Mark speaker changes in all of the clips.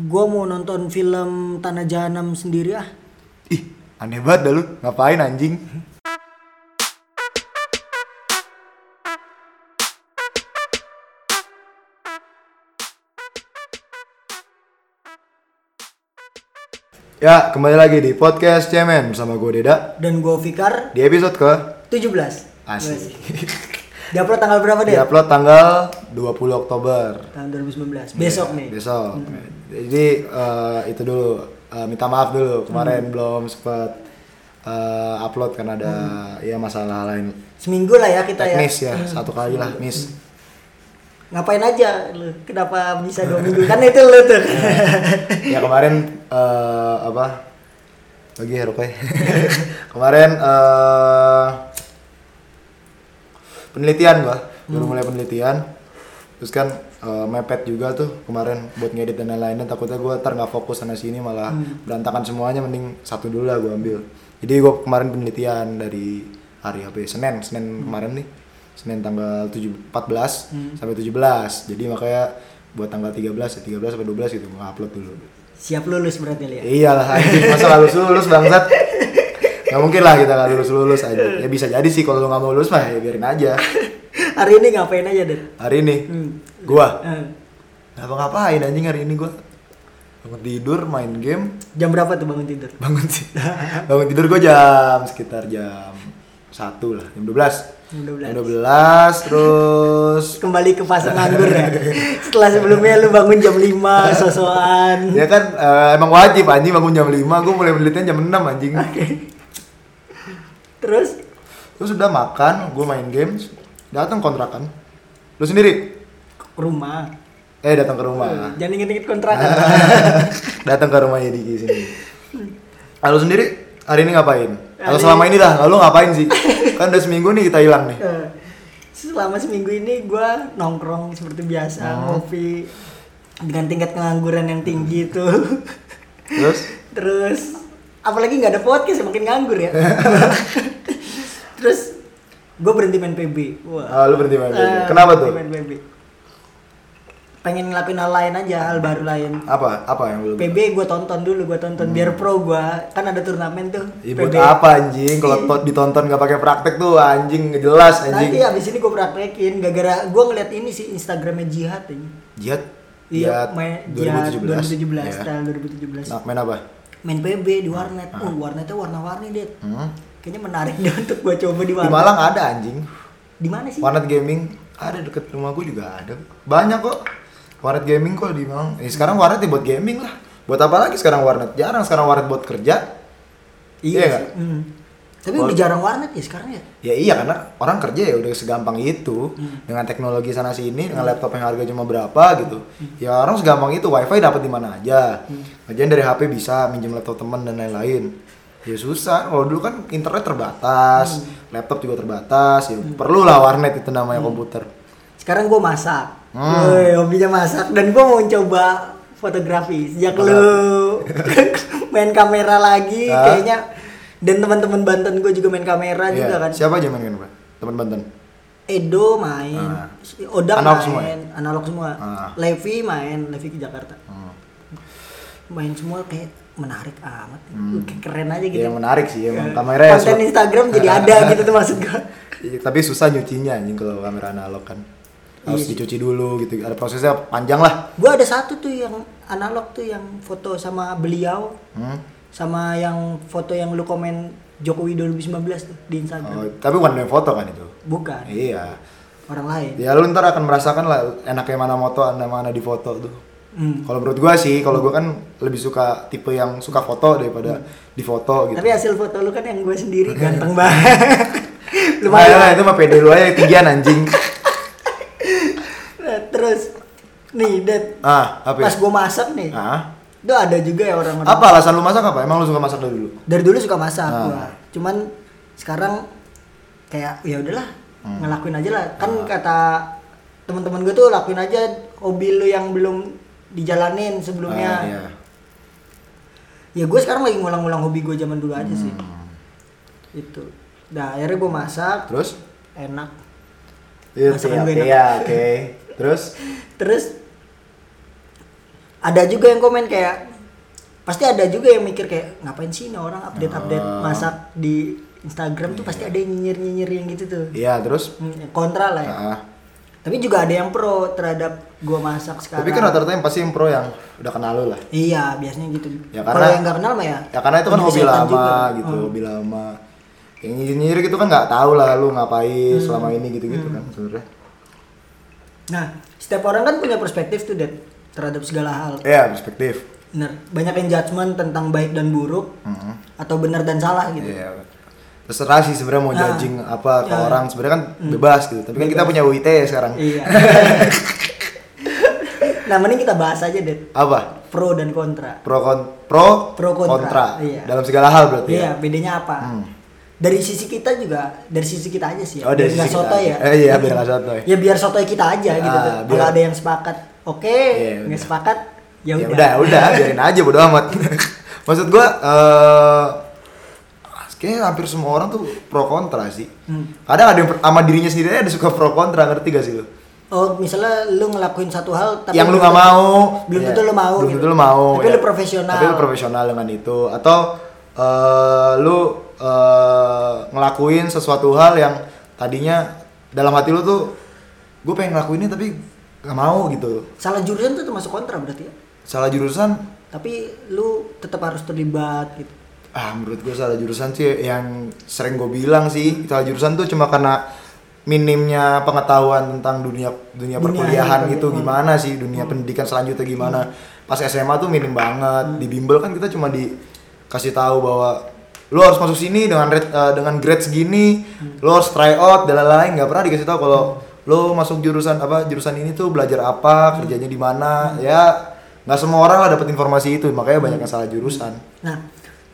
Speaker 1: Gua mau nonton film Tanah Jahanam sendiri ah.
Speaker 2: Ih, aneh banget dah lu. Ngapain anjing? Ya, kembali lagi di podcast Cemen bersama gue Deda
Speaker 1: Dan gua Fikar Iya
Speaker 2: di episode ke
Speaker 1: 17.
Speaker 2: asli.
Speaker 1: Diupload tanggal berapa deh?
Speaker 2: Diupload tanggal 20 Oktober
Speaker 1: Tahun 2019. Besok nih.
Speaker 2: Iya, besok. Jadi eh, itu dulu Eh, minta maaf dulu kemarin belum sempat eh, upload karena ada ya masalah lain
Speaker 1: Seminggu lah ya kita
Speaker 2: teknis
Speaker 1: ya.
Speaker 2: ya satu kali lah miss
Speaker 1: Ngapain aja lu? Kenapa bisa dua minggu? Kan itu lu tuh.
Speaker 2: ya kemarin eh, apa lagi ya Rukoy? kemarin eh, penelitian gua baru mulai penelitian terus kan eh, mepet juga tuh kemarin buat ngedit dan lain-lain takutnya gua ntar nggak fokus sana sini malah berantakan semuanya mending satu dulu lah gua ambil jadi gua kemarin penelitian dari hari apa ya Senin Senin kemarin nih Senin tanggal 7, 14 sampai 17 jadi makanya buat tanggal 13 ya 13 sampai 12 gitu gua upload dulu
Speaker 1: Siap lulus berarti lu ya.
Speaker 2: Iyalah anjing, masa gak lulus-lulus bangsat. Gak mungkin lah kita gak lulus-lulus anjing. Ya bisa jadi sih kalau lu gak mau lulus mah ya biarin aja.
Speaker 1: Hari ini ngapain aja, Den?
Speaker 2: Hari ini
Speaker 1: Hmm.
Speaker 2: gua
Speaker 1: Eh,
Speaker 2: ngapa ngapain anjing hari ini gua? Bangun tidur, main game,
Speaker 1: Jam berapa tuh bangun tidur?
Speaker 2: bangun tidur. bangun tidur gua jam sekitar jam 1 lah, jam 12.
Speaker 1: Jam
Speaker 2: Jam
Speaker 1: 12.
Speaker 2: 12 terus
Speaker 1: Kembali ke fase nganggur ya. Setelah sebelumnya lu bangun jam 5 sosokan.
Speaker 2: ya kan eh, emang wajib anjing bangun jam 5, gua mulai penelitian jam 6 anjing.
Speaker 1: Terus
Speaker 2: Terus udah makan, gua main games, datang kontrakan. Lu sendiri?
Speaker 1: ke rumah.
Speaker 2: Eh datang ke rumah.
Speaker 1: Jangan inget-inget kontrakan.
Speaker 2: Ah. datang ke rumahnya Diki sini. Lalu sendiri hari ini ngapain? Atau
Speaker 1: Hari-
Speaker 2: selama ini dah, lalu ngapain sih? kan udah seminggu nih kita hilang nih.
Speaker 1: Eh, selama seminggu ini gua nongkrong seperti biasa
Speaker 2: Oh.
Speaker 1: ngopi dengan tingkat pengangguran yang tinggi itu
Speaker 2: Terus
Speaker 1: terus apalagi nggak ada podcast ya, makin nganggur ya terus gue berhenti main PB wah
Speaker 2: ah, lu berhenti main game.
Speaker 1: Eh,
Speaker 2: Kenapa
Speaker 1: berhenti
Speaker 2: tuh?
Speaker 1: main PB. pengen ngelakuin hal lain aja hal baru lain
Speaker 2: Apa? Apa yang lu?
Speaker 1: PB gue tonton dulu gue tonton biar pro gua kan ada turnamen tuh
Speaker 2: Ya, buat apa
Speaker 1: Iya.
Speaker 2: anjing? Kalau to- ditonton nggak pakai praktek tuh anjing jelas
Speaker 1: nanti
Speaker 2: anjing.
Speaker 1: abis ini gue praktekin gara-gara gue ngeliat ini sih Instagramnya Jihad ini
Speaker 2: Jihad.
Speaker 1: Iya,
Speaker 2: Jihad
Speaker 1: main Jihad 2017,
Speaker 2: 2017. Ya.
Speaker 1: tahun 2017.
Speaker 2: Nah, main apa?
Speaker 1: Main PB di warnet. Oh, warnetnya warna-warni, Det.
Speaker 2: Hmm.
Speaker 1: Kayaknya menarik deh untuk gua coba di
Speaker 2: Di
Speaker 1: warnet.
Speaker 2: Malang ada anjing.
Speaker 1: Di mana sih?
Speaker 2: Warnet gaming ada deket rumah gue juga ada. Banyak kok. Warnet gaming kok di Malang. Eh, sekarang warnet ya buat gaming lah. Buat apa lagi sekarang warnet? Jarang sekarang warnet buat kerja. Iya
Speaker 1: sih.
Speaker 2: nggak?
Speaker 1: Hmm. Tapi udah jarang warnet ya sekarang ya?
Speaker 2: Ya iya karena orang kerja ya udah segampang itu dengan teknologi sana sini dengan laptop yang harga cuma berapa gitu. Ya orang segampang itu wifi dapat di mana aja. Kerjaan dari HP bisa minjem laptop teman dan lain-lain. Ya susah. Kalau dulu kan internet terbatas, laptop juga terbatas. Ya perlulah warnet itu namanya komputer.
Speaker 1: Sekarang gua masak.
Speaker 2: Hmm.
Speaker 1: Woi, hobinya masak dan gua mau coba fotografi. Sejak lu main kamera lagi
Speaker 2: Hah?
Speaker 1: kayaknya dan teman-teman Banten gue juga main kamera
Speaker 2: Iya.
Speaker 1: juga kan.
Speaker 2: Siapa aja main game, Pak? Teman Banten.
Speaker 1: Edo main,
Speaker 2: Ah.
Speaker 1: Odang
Speaker 2: Analog
Speaker 1: main,
Speaker 2: semua ya?
Speaker 1: analog semua.
Speaker 2: Ah.
Speaker 1: Levi main, Levi ke Jakarta.
Speaker 2: Hmm.
Speaker 1: Main semua kayak menarik amat, kayak keren aja gitu.
Speaker 2: Ya, yang menarik sih emang
Speaker 1: Eh,
Speaker 2: kamera ya.
Speaker 1: Konten
Speaker 2: su-
Speaker 1: Instagram jadi ada gitu tuh maksud gua.
Speaker 2: Iya, tapi susah nyucinya anjing kalau kamera analog kan.
Speaker 1: Iya,
Speaker 2: Harus dicuci dulu gitu. Ada prosesnya panjang lah.
Speaker 1: Gua ada satu tuh yang analog tuh yang foto sama beliau,
Speaker 2: Hmm.
Speaker 1: sama yang foto yang lu komen Jokowi 2019 tuh di Instagram.
Speaker 2: Oh, tapi bukan dari foto kan itu.
Speaker 1: Bukan
Speaker 2: Iya.
Speaker 1: orang lain.
Speaker 2: Ya lu ntar akan merasakan lah enaknya mana moto, enaknya mana di foto tuh.
Speaker 1: Hmm.
Speaker 2: Kalau menurut gua sih, kalau gua kan lebih suka tipe yang suka foto daripada di foto gitu.
Speaker 1: Tapi hasil foto lu kan yang gue sendiri ganteng banget.
Speaker 2: Lumayan
Speaker 1: Lumayan.
Speaker 2: Nah, lah, itu mah pede lu aja ketinggian anjing.
Speaker 1: Nah, terus nih, Dad,
Speaker 2: Ah, apa ya?
Speaker 1: pas gue masak nih
Speaker 2: Ah.
Speaker 1: itu ada juga ya orang-orang
Speaker 2: Apa alasan lu masak apa? Emang lu suka masak dari dulu?
Speaker 1: dari dulu suka masak
Speaker 2: Ah.
Speaker 1: gua. cuman sekarang kayak ya udahlah
Speaker 2: Hmm.
Speaker 1: ngelakuin aja lah kan
Speaker 2: Ah.
Speaker 1: kata teman-teman gue tuh lakuin aja hobi lu yang belum dijalanin sebelumnya
Speaker 2: Ah, iya.
Speaker 1: ya gue sekarang lagi ngulang-ngulang hobi gue zaman dulu aja sih
Speaker 2: Hmm.
Speaker 1: itu nah akhirnya gue masak
Speaker 2: Terus?
Speaker 1: enak
Speaker 2: Iya, ya,
Speaker 1: Masakan
Speaker 2: oke,
Speaker 1: gue enak.
Speaker 2: iya, oke. Terus
Speaker 1: terus ada juga yang komen kayak pasti ada juga yang mikir kayak ngapain sih ini orang update-update
Speaker 2: Oh.
Speaker 1: masak di Instagram tuh pasti ada yang nyinyir-nyinyir yang gitu tuh.
Speaker 2: Iya terus.
Speaker 1: Hmm, Kontra lah ya.
Speaker 2: Nah,
Speaker 1: Tapi juga ada yang pro terhadap gua masak sekarang.
Speaker 2: tapi kan rata-rata yang pasti yang pro yang udah kenal lu lah.
Speaker 1: Iya, biasanya gitu.
Speaker 2: Ya,
Speaker 1: Kalau
Speaker 2: karena-
Speaker 1: yang nggak kenal mah ya.
Speaker 2: Ya karena itu kan
Speaker 1: lebih
Speaker 2: hobi
Speaker 1: setan
Speaker 2: lama
Speaker 1: juga. Hmm.
Speaker 2: gitu, hobi lama. Yang nyinyir gitu kan nggak tahu lah lu ngapain
Speaker 1: Hmm.
Speaker 2: selama ini gitu-gitu kan sebenarnya.
Speaker 1: Nah, setiap orang kan punya perspektif tuh Dad, terhadap segala hal.
Speaker 2: Iya perspektif.
Speaker 1: Bener. Banyak yang judgement tentang baik dan buruk
Speaker 2: Hmm.
Speaker 1: atau benar dan salah gitu.
Speaker 2: Iya. Terserah sih sebenarnya mau
Speaker 1: Ah.
Speaker 2: judging apa ke
Speaker 1: Ya.
Speaker 2: orang sebenarnya kan bebas gitu. Tapi kan kita punya UIT ya sekarang.
Speaker 1: Iya. nah, mending kita bahas aja deh
Speaker 2: Apa?
Speaker 1: pro dan kontra.
Speaker 2: Pro kon- pro,
Speaker 1: Pro kontra, iya.
Speaker 2: Dalam segala hal berarti. ya?
Speaker 1: Iya, bedanya apa? Dari sisi kita juga, dari sisi kita aja sih ya.
Speaker 2: Oh, dari
Speaker 1: Biar nggak
Speaker 2: sisi kita
Speaker 1: sotoy
Speaker 2: aja.
Speaker 1: ya.
Speaker 2: Eh, iya, biar nggak sotoy.
Speaker 1: Ya biar sotoy kita aja gitu.
Speaker 2: Ah,
Speaker 1: tuh.
Speaker 2: biar-
Speaker 1: Kalau ada yang sepakat, oke.
Speaker 2: Iya,
Speaker 1: nggak
Speaker 2: udah.
Speaker 1: sepakat, ya
Speaker 2: ya
Speaker 1: udah.
Speaker 2: udah udah biarin aja bodo amat maksud gua eh kayaknya hampir semua orang tuh pro kontra sih
Speaker 1: Hmm.
Speaker 2: kadang ada yang per- sama dirinya sendiri aja ada suka pro kontra ngerti gak sih lu
Speaker 1: Oh, misalnya lu ngelakuin satu hal tapi
Speaker 2: yang
Speaker 1: belum
Speaker 2: lu nggak
Speaker 1: tentu-
Speaker 2: mau
Speaker 1: belum
Speaker 2: ya.
Speaker 1: tentu lu mau
Speaker 2: belum
Speaker 1: gitu.
Speaker 2: tentu lu mau
Speaker 1: Tapi
Speaker 2: ya.
Speaker 1: lu profesional.
Speaker 2: tapi lu profesional dengan itu atau eh, lu eh, ngelakuin sesuatu hal yang tadinya dalam hati lu tuh gue pengen ngelakuinnya tapi gak mau gitu
Speaker 1: Salah jurusan tuh termasuk kontra berarti ya.
Speaker 2: salah jurusan
Speaker 1: Tapi lu tetap harus terlibat gitu.
Speaker 2: ah menurut gue salah jurusan sih yang sering gue bilang sih salah jurusan tuh cuma karena minimnya pengetahuan tentang dunia
Speaker 1: Dunia,
Speaker 2: dunia, perkuliahan
Speaker 1: iya,
Speaker 2: gitu
Speaker 1: iya. Hmm.
Speaker 2: gimana sih dunia pendidikan selanjutnya gimana pas SMA tuh minim banget di bimbel kan kita cuma dikasih tahu bahwa lu harus masuk sini dengan red, eh, dengan grade segini
Speaker 1: Hmm.
Speaker 2: lu harus try out dan lain-lain nggak pernah dikasih tahu kalau lu masuk jurusan apa jurusan ini tuh belajar
Speaker 1: Hmm.
Speaker 2: apa kerjanya di mana ya nggak semua orang lah dapat informasi itu makanya
Speaker 1: Hmm.
Speaker 2: banyak yang salah jurusan
Speaker 1: Nah,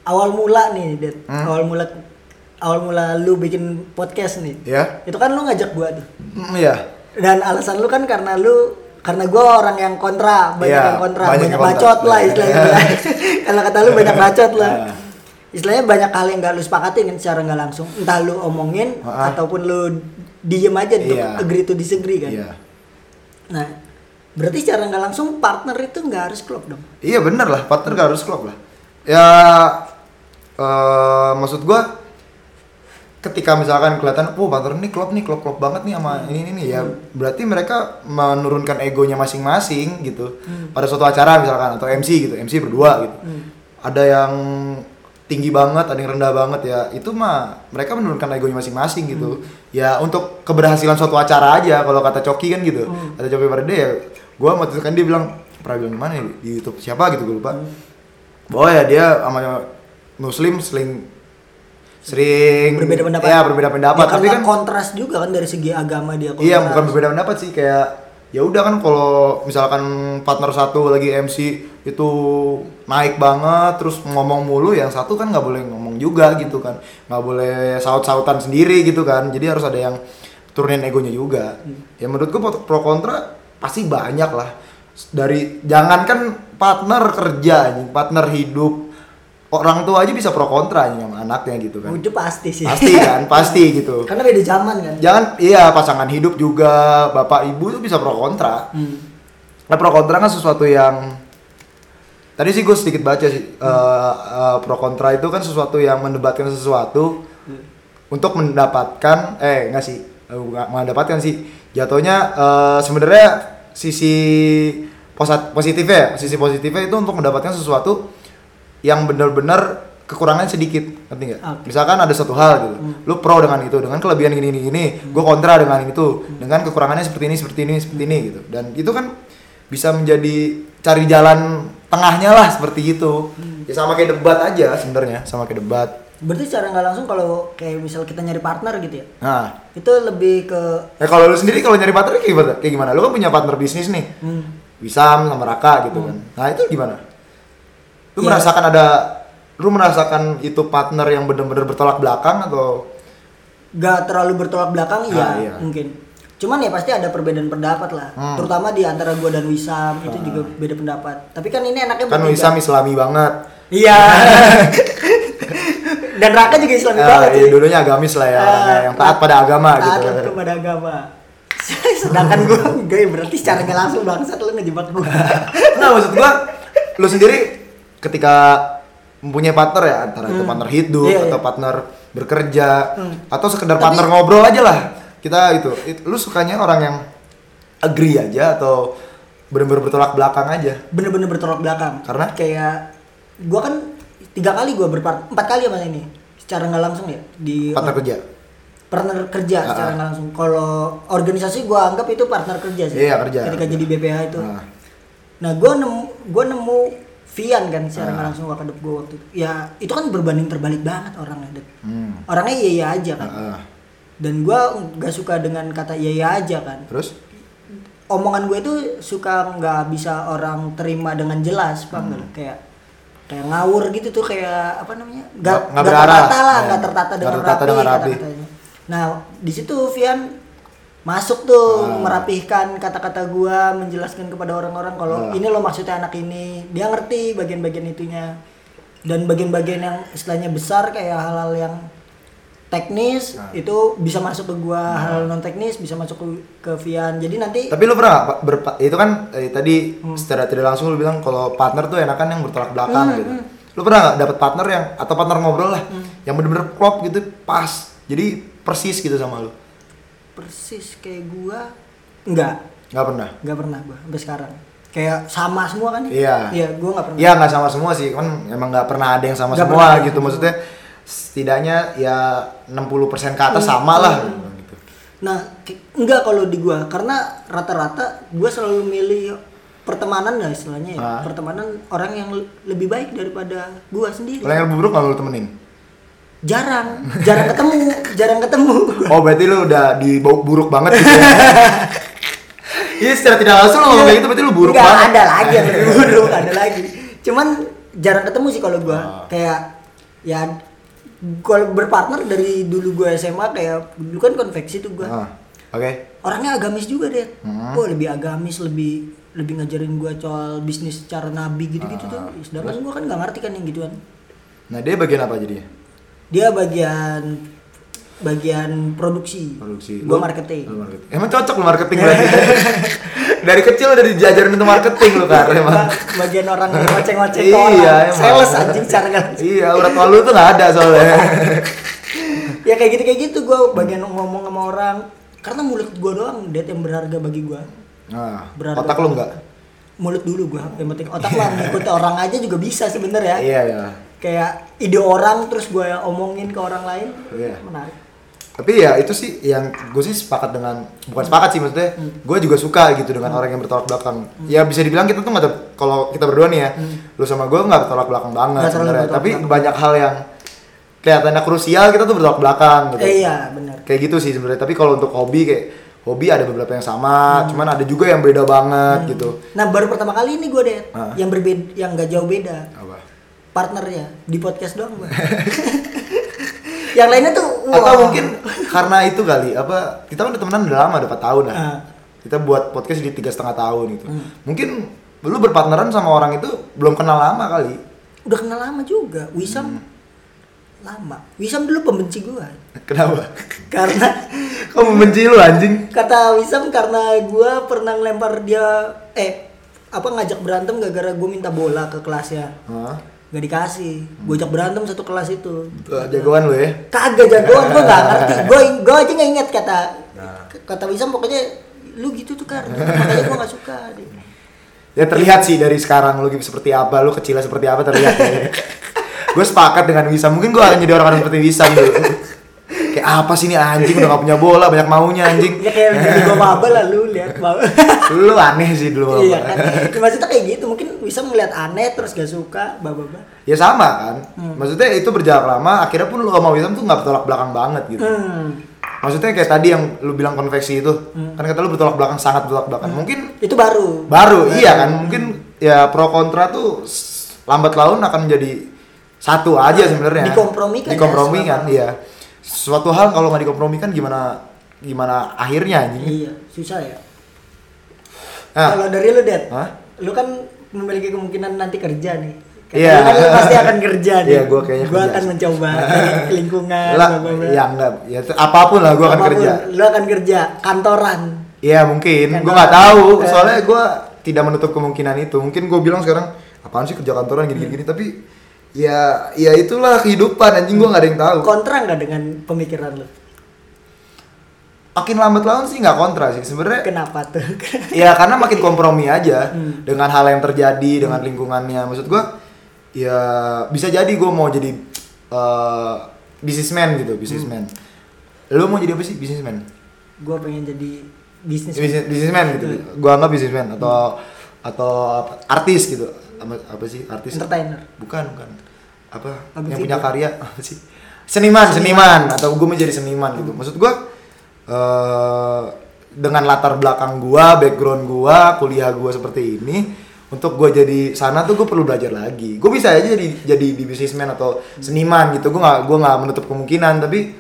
Speaker 1: awal mula nih, Dad.
Speaker 2: Hmm?
Speaker 1: Awal mula awal mula lu bikin podcast nih.
Speaker 2: ya
Speaker 1: Itu kan lu ngajak gua tuh.
Speaker 2: Mm, iya
Speaker 1: Dan alasan lu kan karena lu karena gua orang yang kontra, banyak
Speaker 2: Iya,
Speaker 1: yang kontra,
Speaker 2: banyak
Speaker 1: banyak,
Speaker 2: yang kontra. Iya.
Speaker 1: bacot lah istilahnya. Kalau kata lu banyak bacot lah.
Speaker 2: Ah.
Speaker 1: Istilahnya banyak hal yang gak lu sepakatin kan secara nggak langsung. Entah lu omongin
Speaker 2: Ah.
Speaker 1: ataupun lu diem aja untuk
Speaker 2: Iya.
Speaker 1: agree to disagree kan.
Speaker 2: Iya.
Speaker 1: Nah, berarti secara nggak langsung partner itu nggak harus klop dong.
Speaker 2: Iya bener lah, partner gak harus klop lah. Ya eh maksud gua ketika misalkan kelihatan, "Wah, partner nih klop nih, klop-klop banget nih sama ini ini nih." Ya berarti mereka menurunkan egonya masing-masing gitu. Pada suatu acara misalkan atau MC gitu, MC berdua gitu. Ada yang tinggi banget, ada yang rendah banget ya. Itu mah mereka menurunkan egonya masing-masing gitu. Ya untuk keberhasilan suatu acara aja kalau kata Coki kan gitu. Kata Coki pada dia ya, gue waktu itu kan dia bilang pernah bilang di mana ya di YouTube siapa gitu gue lupa bahwa ya dia sama Muslim sering sering
Speaker 1: Berbeda pendapat.
Speaker 2: ya berbeda pendapat
Speaker 1: Ya,
Speaker 2: tapi
Speaker 1: karena
Speaker 2: kan
Speaker 1: kontras juga kan dari segi agama dia. kontras.
Speaker 2: iya bukan berbeda pendapat sih kayak ya udah kan kalau misalkan partner satu lagi MC itu naik banget terus ngomong mulu yang satu kan nggak boleh ngomong juga gitu kan nggak boleh saut-sautan sendiri gitu kan jadi harus ada yang turunin egonya juga ya menurut gua pro- pro kontra pasti banyak lah dari jangankan partner kerja anjing, partner hidup orang tua aja bisa pro kontra anjing sama anaknya gitu kan
Speaker 1: Udah pasti sih.
Speaker 2: pasti kan pasti gitu
Speaker 1: karena beda zaman kan.
Speaker 2: jangan iya pasangan hidup juga bapak ibu itu bisa pro kontra
Speaker 1: Hmm.
Speaker 2: nah pro kontra kan sesuatu yang tadi sih gue sedikit baca sih eh, eh, pro kontra itu kan sesuatu yang mendebatkan sesuatu untuk mendapatkan eh nggak sih eh, nggak mendapatkan sih jatuhnya eh, sebenarnya sisi posa- positifnya ya, sisi positifnya itu untuk mendapatkan sesuatu yang benar-benar kekurangan sedikit ngerti nggak?
Speaker 1: Oke.
Speaker 2: Misalkan ada satu hal gitu, lu pro dengan itu, dengan kelebihan gini gini gini, gue kontra dengan itu, dengan kekurangannya seperti ini seperti ini seperti ini gitu, dan itu kan bisa menjadi cari jalan tengahnya lah seperti itu, ya sama kayak debat aja sebenarnya, sama kayak debat.
Speaker 1: Berarti secara nggak langsung kalau kayak misal kita nyari partner gitu ya,
Speaker 2: Nah,
Speaker 1: itu lebih ke
Speaker 2: ya kalau lu sendiri kalau nyari partner kayak gimana? Kayak gimana? Lu kan punya partner bisnis nih,
Speaker 1: hmm,
Speaker 2: Wisam sama Raka gitu kan, nah itu gimana? Lu
Speaker 1: Ya.
Speaker 2: merasakan ada, lu merasakan itu partner yang benar-benar bertolak belakang atau
Speaker 1: nggak terlalu bertolak belakang ya
Speaker 2: Ah, iya. Hmm.
Speaker 1: mungkin. Cuman ya pasti ada perbedaan pendapat lah, terutama di antara gua dan Wisam itu juga beda pendapat. Tapi kan ini enaknya
Speaker 2: Ah. kan
Speaker 1: bertiga.
Speaker 2: Wisam islami banget
Speaker 1: Iya. dan Raka juga Islami
Speaker 2: Ah,
Speaker 1: banget.
Speaker 2: iya,
Speaker 1: sih. Ah,
Speaker 2: dulunya agamis lah ya orangnya, yang taat pada agama
Speaker 1: Taat
Speaker 2: gitu
Speaker 1: kepada agama. sedangkan gue gue berarti secara nggak langsung bangsat lu ngejebak gue
Speaker 2: Nah maksud gua, lu sendiri ketika mempunyai partner ya antara itu partner hidup
Speaker 1: Iya,
Speaker 2: atau
Speaker 1: iya.
Speaker 2: partner bekerja atau sekedar
Speaker 1: Tapi-
Speaker 2: partner ngobrol aja lah kita itu It- lu sukanya orang yang agree aja atau bener-bener bertolak belakang aja
Speaker 1: bener-bener bertolak belakang
Speaker 2: Karena?
Speaker 1: kayak gue kan tiga kali gue berpart empat kali sama ini secara nggak langsung ya di
Speaker 2: partner kerja
Speaker 1: partner kerja
Speaker 2: Ah,
Speaker 1: secara
Speaker 2: ah.
Speaker 1: nggak langsung kalau organisasi gue anggap itu partner kerja sih
Speaker 2: Iya, kerja.
Speaker 1: ketika jadi BPH itu
Speaker 2: Ah.
Speaker 1: nah gue nemu gue nemu Vian kan secara nggak
Speaker 2: Ah.
Speaker 1: langsung wakadep gue waktu itu ya itu kan berbanding terbalik banget orangnya Dek.
Speaker 2: Hmm.
Speaker 1: orangnya iya iya aja kan
Speaker 2: Ah, ah.
Speaker 1: dan gue nggak suka dengan kata iya iya aja kan
Speaker 2: terus
Speaker 1: omongan gue itu suka nggak bisa orang terima dengan jelas paham
Speaker 2: Hmm.
Speaker 1: nggak? kayak kayak ngawur gitu tuh kayak apa namanya
Speaker 2: Nggak-
Speaker 1: nggak
Speaker 2: nggak
Speaker 1: nggak
Speaker 2: berarah.
Speaker 1: tertata lah
Speaker 2: Iya.
Speaker 1: nggak tertata
Speaker 2: Nggak
Speaker 1: dengan
Speaker 2: tertata
Speaker 1: rapi,
Speaker 2: dengan rapi.
Speaker 1: kata-katanya nah di situ Vian masuk tuh
Speaker 2: Ah.
Speaker 1: merapihkan kata-kata gua menjelaskan kepada orang-orang kalau
Speaker 2: Ah.
Speaker 1: ini lo maksudnya anak ini dia ngerti bagian-bagian itunya dan bagian-bagian yang istilahnya besar kayak hal-hal yang teknis
Speaker 2: Ah.
Speaker 1: itu bisa masuk ke gua hal non teknis bisa masuk ke, ke Vian jadi nanti
Speaker 2: tapi lu pernah nggak, Pak, berpa itu kan eh, tadi
Speaker 1: Hmm.
Speaker 2: secara tidak langsung lu bilang kalau partner tuh enakan yang bertolak belakang
Speaker 1: Hmm,
Speaker 2: gitu lu pernah nggak dapet partner yang atau partner ngobrol lah yang bener-bener klop gitu pas jadi persis gitu sama lu
Speaker 1: persis kayak gua enggak
Speaker 2: nggak pernah
Speaker 1: enggak pernah gua sampai sekarang kayak sama semua kan ya?
Speaker 2: Iya.
Speaker 1: iya gua nggak pernah
Speaker 2: Iya nggak sama semua sih, kan emang nggak pernah ada yang sama
Speaker 1: Nggak
Speaker 2: semua
Speaker 1: pernah.
Speaker 2: gitu maksudnya setidaknya ya 60% ke atas
Speaker 1: Hmm.
Speaker 2: sama lah. Gitu.
Speaker 1: nah ke- enggak kalau di gua karena rata-rata gua selalu milih pertemanan lah istilahnya ya.
Speaker 2: Ah.
Speaker 1: pertemanan orang yang le- lebih baik daripada gua sendiri
Speaker 2: Kalau yang lebih buruk kalau lu temenin.
Speaker 1: jarang jarang ketemu jarang ketemu
Speaker 2: Oh berarti lu udah di bau buruk banget gitu ya. Iya secara tidak langsung lu ngomong kayak gitu berarti lu buruk
Speaker 1: Nggak,
Speaker 2: banget.
Speaker 1: ada lagi yang lebih buruk ada lagi cuman jarang ketemu sih kalau
Speaker 2: Ah.
Speaker 1: gua kayak ya kalau berpartner dari dulu gua SMA kayak dulu kan konveksi tuh gua
Speaker 2: Ah, Hmm. Oke.
Speaker 1: orangnya agamis juga deh oh lebih agamis lebih lebih ngajarin gua soal bisnis secara nabi gitu-gitu
Speaker 2: Ah.
Speaker 1: tuh sedangkan gua kan nggak ngerti kan yang gituan
Speaker 2: Nah dia bagian apa jadinya?
Speaker 1: dia bagian bagian produksi,
Speaker 2: Produksi.
Speaker 1: gua
Speaker 2: Lu-
Speaker 1: marketing
Speaker 2: Lu marketing. Emang cocok lu marketing berarti. dari kecil udah dijajarin itu marketing lu kan emang.
Speaker 1: Ba- bagian orang yang ngoceng-ngoceng ke orang.
Speaker 2: iya, emang.
Speaker 1: sales anjing cara nggak-
Speaker 2: Iya, urat malu tuh nggak ada soalnya.
Speaker 1: ya kayak gitu kayak gitu gue bagian ngomong sama orang karena mulut gue doang det yang berharga bagi gue
Speaker 2: Nah,
Speaker 1: Berharga
Speaker 2: otak lu enggak?
Speaker 1: mulut dulu gue yang penting otak lah ngikutin orang aja juga bisa sebenernya
Speaker 2: Iya, iya.
Speaker 1: kayak ide orang terus gue omongin ke orang lain
Speaker 2: Iya.
Speaker 1: menarik
Speaker 2: Tapi ya itu sih yang gue sih sepakat dengan bukan sepakat sih maksudnya
Speaker 1: Hmm.
Speaker 2: gue juga suka gitu dengan orang yang bertolak belakang. Ya bisa dibilang kita tuh nggak ada- kalau kita berdua nih ya, lu sama gue nggak bertolak belakang banget
Speaker 1: Hmm. Nggak terlalu
Speaker 2: sebenarnya.
Speaker 1: bertolak
Speaker 2: Tapi
Speaker 1: belakang.
Speaker 2: banyak hal yang kelihatannya krusial kita tuh bertolak belakang gitu.
Speaker 1: eh, iya benar
Speaker 2: Kayak gitu sih sebenarnya. Tapi kalau untuk hobi kayak hobi ada beberapa yang sama,
Speaker 1: Hmm.
Speaker 2: cuman ada juga yang beda banget gitu.
Speaker 1: nah baru pertama kali ini gue det
Speaker 2: Ah.
Speaker 1: yang berbeda yang gak jauh beda
Speaker 2: Apa?
Speaker 1: partnernya di podcast doang gue yang lainnya tuh
Speaker 2: Atau
Speaker 1: wah.
Speaker 2: mungkin karena itu kali apa kita kan udah temenan udah lama udah 4 tahun lah.
Speaker 1: Ah.
Speaker 2: Kita buat podcast di tiga setengah tahun gitu. Mungkin lu berpartneran sama orang itu belum kenal lama kali.
Speaker 1: udah kenal lama juga
Speaker 2: Hmm.
Speaker 1: Wisam lama Wisam dulu pembenci gue
Speaker 2: Kenapa?
Speaker 1: karena
Speaker 2: Kau membenci lu anjing?
Speaker 1: kata Wisam karena gua pernah ngelempar dia eh apa ngajak berantem gara-gara gue minta bola ke kelasnya
Speaker 2: Hah?
Speaker 1: gak dikasih gue ajak berantem satu kelas itu
Speaker 2: Eh, Jagoan lu ya.
Speaker 1: kagak jagoan gue gak ngerti gue gue aja gak inget kata kata Wisam pokoknya lu gitu tuh kan makanya gue gak suka
Speaker 2: Ya terlihat sih dari sekarang lu gitu seperti apa, lu kecilnya seperti apa terlihat ya. gue sepakat dengan Wisam, mungkin gue akan jadi orang-orang seperti Wisam dulu. Kayak apa sih ini anjing udah gak punya bola, banyak maunya anjing.
Speaker 1: ya kayak jadi gue mabal lah lu lihat mabal
Speaker 2: Lu aneh sih dulu.
Speaker 1: iya kan maksudnya kayak gitu mungkin Wisam ngeliat aneh terus gak suka bababa
Speaker 2: ya sama kan
Speaker 1: Hmm.
Speaker 2: maksudnya itu berjalan lama akhirnya pun lu sama Wisam tuh nggak bertolak belakang banget gitu
Speaker 1: hmm.
Speaker 2: maksudnya kayak tadi yang lu bilang konveksi itu kan kata lu bertolak belakang sangat bertolak
Speaker 1: Hmm.
Speaker 2: belakang mungkin
Speaker 1: itu baru
Speaker 2: baru iya kan mungkin ya pro kontra tuh s- lambat laun akan menjadi satu aja
Speaker 1: Hmm.
Speaker 2: sebenarnya
Speaker 1: Dikompromikan ya,
Speaker 2: dikompromikan iya suatu hal kalau nggak dikompromikan gimana gimana akhirnya anjing
Speaker 1: iya susah ya
Speaker 2: nah,
Speaker 1: Kalau dari lu, Det,
Speaker 2: Hah?
Speaker 1: lu kan memiliki kemungkinan nanti kerja nih. Kata
Speaker 2: Iya.
Speaker 1: lu Kan lu pasti akan kerja nih.
Speaker 2: Iya, gua kayaknya
Speaker 1: Gua
Speaker 2: kerja.
Speaker 1: akan mencoba cari lingkungan,
Speaker 2: lah,
Speaker 1: bla, bla, bla.
Speaker 2: ya enggak ya apapun lah gua
Speaker 1: Iya,
Speaker 2: akan
Speaker 1: Apapun,
Speaker 2: kerja
Speaker 1: Lu akan kerja kantoran.
Speaker 2: Iya mungkin, gue nggak tahu. Soalnya gue tidak menutup kemungkinan itu. Mungkin gue bilang sekarang apaan sih kerja kantoran gini-gini, tapi ya ya itulah kehidupan anjing gue nggak ada yang tahu.
Speaker 1: kontra nggak dengan pemikiran lu
Speaker 2: Makin lambat laun sih nggak kontra sih sebenarnya.
Speaker 1: kenapa tuh
Speaker 2: ya karena makin kompromi aja dengan hal yang terjadi dengan lingkungannya maksud gua ya bisa jadi gua mau jadi eh businessman gitu businessman lu mau jadi apa sih businessman
Speaker 1: gue pengen jadi bisnis
Speaker 2: Business- businessman gitu gua anggap businessman atau atau apa- artis gitu apa, apa sih artis
Speaker 1: entertainer
Speaker 2: bukan bukan apa
Speaker 1: Apa
Speaker 2: yang
Speaker 1: sih
Speaker 2: punya
Speaker 1: itu?
Speaker 2: karya apa sih seniman seniman atau gue menjadi seniman gitu maksud gue eh dengan latar belakang gue background gue kuliah gue seperti ini untuk gue jadi sana tuh gue perlu belajar lagi gue bisa aja jadi jadi di bisnismen atau seniman gitu gue nggak gue nggak menutup kemungkinan tapi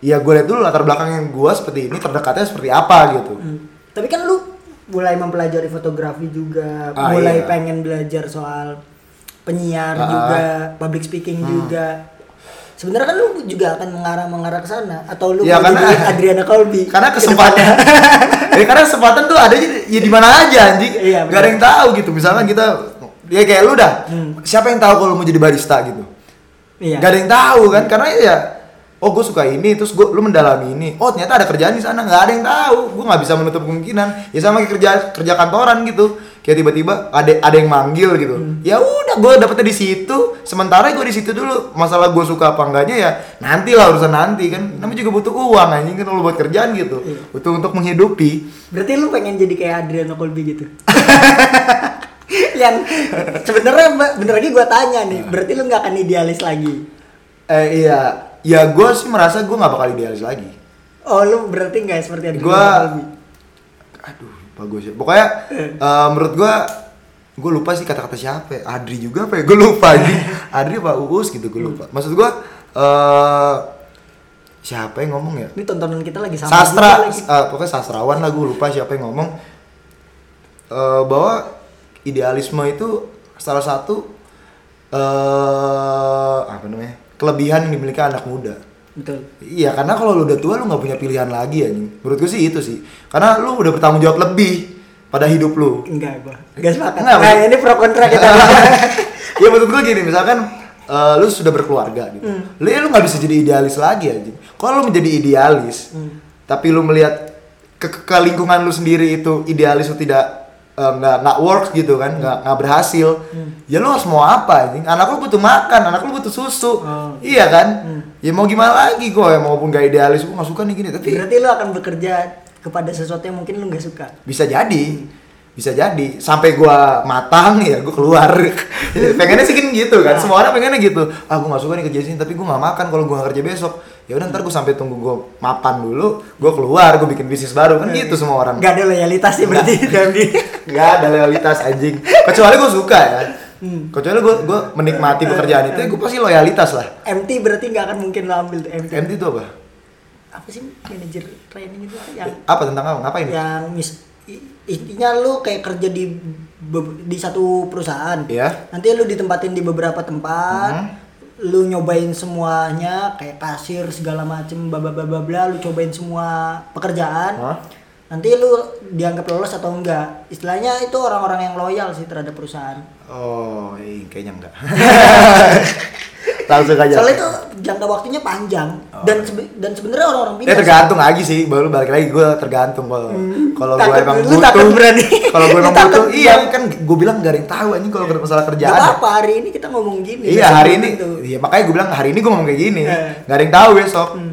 Speaker 2: ya gue lihat dulu latar belakang yang gue seperti ini terdekatnya seperti apa gitu
Speaker 1: Hmm. tapi kan lu mulai mempelajari fotografi juga
Speaker 2: Ah,
Speaker 1: mulai
Speaker 2: iya.
Speaker 1: pengen belajar soal penyiar
Speaker 2: Ah, Hmm. ah.
Speaker 1: juga public speaking juga sebenarnya kan lu juga akan mengarah mengarah ke sana atau lu
Speaker 2: Ya,
Speaker 1: mau
Speaker 2: karena-
Speaker 1: jadi Adriana Colby
Speaker 2: karena kesempatan ya, karena kesempatan tuh ada ya di mana aja anjing
Speaker 1: Iya,
Speaker 2: gak ada yang tahu gitu misalkan kita ya kayak lu dah siapa yang tahu kalau mau jadi barista gitu
Speaker 1: iya
Speaker 2: gak ada yang tahu kan karena ya oh gue suka ini terus gue lu mendalami ini oh ternyata ada kerjaan di sana nggak ada yang tahu gue nggak bisa menutup kemungkinan ya sama kayak kerja kerja kantoran gitu kayak tiba-tiba ada ada yang manggil gitu ya udah gue dapetnya di situ sementara gue di situ dulu masalah gue suka apa enggaknya ya nanti lah urusan nanti kan namanya juga butuh uang anjing kan lu buat kerjaan gitu butuh untuk menghidupi
Speaker 1: berarti lu pengen jadi kayak Adriana Colby gitu yang sebenarnya Mbak, bener lagi gua tanya nih
Speaker 2: Iya.
Speaker 1: berarti lu nggak akan idealis lagi
Speaker 2: eh iya ya gue sih merasa gue nggak bakal idealis lagi
Speaker 1: oh lu berarti nggak seperti Adriana
Speaker 2: Gua-
Speaker 1: Colby
Speaker 2: aduh bagus ya pokoknya eh, menurut gua gue lupa sih kata-kata siapa ya. Adri juga apa ya gue lupa Adri Adri apa Uus gitu gue lupa maksud gua eh siapa yang ngomong ya
Speaker 1: ini tontonan kita lagi sama juga
Speaker 2: sastra
Speaker 1: lagi.
Speaker 2: eh, pokoknya sastrawan lah gue lupa siapa yang ngomong eh, bahwa idealisme itu salah satu eh apa namanya kelebihan yang dimiliki anak muda
Speaker 1: betul
Speaker 2: Iya, karena kalau lu udah tua lu nggak punya pilihan lagi anjing. Menurut gue sih itu sih. Karena lu udah bertanggung jawab lebih pada hidup lu.
Speaker 1: enggak gua enggak sepakat
Speaker 2: Enggak,
Speaker 1: nah
Speaker 2: maksud-
Speaker 1: ini pro kontra kita
Speaker 2: ya maksud gue gini, misalkan eh, lu sudah berkeluarga gitu. Lu ya lu nggak bisa jadi idealis lagi anjing. Kalau lu menjadi idealis, tapi lu melihat ke, ke- ke lingkungan lu sendiri itu idealis lu tidak eh, nggak nggak works gitu kan, nggak nggak berhasil. Ya lu harus mau apa anjing? Anak lu butuh makan, anak lu butuh susu.
Speaker 1: Oh.
Speaker 2: Iya kan? Ya mau gimana lagi gue ya maupun gak idealis gue gak suka nih gini tapi
Speaker 1: berarti lu akan bekerja kepada sesuatu yang mungkin lu nggak suka
Speaker 2: bisa jadi bisa jadi sampai gua matang ya gua keluar Jadi pengennya sih kan gitu kan semua orang pengennya gitu ah gua nggak suka nih kerja di sini tapi gua nggak makan kalau gua nggak kerja besok ya udah ntar gua sampai tunggu gua mapan dulu gua keluar gua bikin bisnis baru kan gitu semua orang
Speaker 1: enggak ada loyalitas sih berarti dalam diri
Speaker 2: nggak ada loyalitas anjing kecuali gua suka ya kecuali gua gua menikmati pekerjaan itu ya gua pasti loyalitas lah
Speaker 1: MT berarti nggak akan mungkin lo ambil tuh MT
Speaker 2: MT itu apa
Speaker 1: apa sih manajer training itu yang
Speaker 2: apa tentang kamu ngapain
Speaker 1: yang mis i- intinya lu kayak kerja di be- di satu perusahaan
Speaker 2: Iya.
Speaker 1: nanti lu ditempatin di beberapa
Speaker 2: Hmm.
Speaker 1: tempat lu nyobain semuanya kayak kasir segala macem bla bla bla bla bla, lu cobain semua pekerjaan
Speaker 2: Hah?
Speaker 1: nanti lu dianggap lolos atau enggak istilahnya itu orang-orang yang loyal sih terhadap perusahaan
Speaker 2: oh eh, kayaknya enggak langsung aja
Speaker 1: soalnya itu jangka waktunya panjang dan sebe- dan sebenarnya orang-orang
Speaker 2: Ya
Speaker 1: pintar
Speaker 2: Oh. tergantung lagi sih, baru balik lagi gue tergantung kalau kalau
Speaker 1: Hmm.
Speaker 2: gue
Speaker 1: Takut,
Speaker 2: emang
Speaker 1: lu
Speaker 2: butuh,
Speaker 1: takut berani.
Speaker 2: kalau gue
Speaker 1: Lu
Speaker 2: emang
Speaker 1: takut
Speaker 2: butuh, iya
Speaker 1: berani.
Speaker 2: kan gue bilang gak ada yang tahu anjing kalau masalah
Speaker 1: Gak
Speaker 2: kerjaan. ya.
Speaker 1: apa-apa hari ini kita ngomong gini
Speaker 2: Iya
Speaker 1: besok
Speaker 2: hari ini,
Speaker 1: gitu.
Speaker 2: iya makanya gue bilang hari ini gue ngomong kayak gini,
Speaker 1: Eh.
Speaker 2: gak ada yang tahu besok.
Speaker 1: Hmm.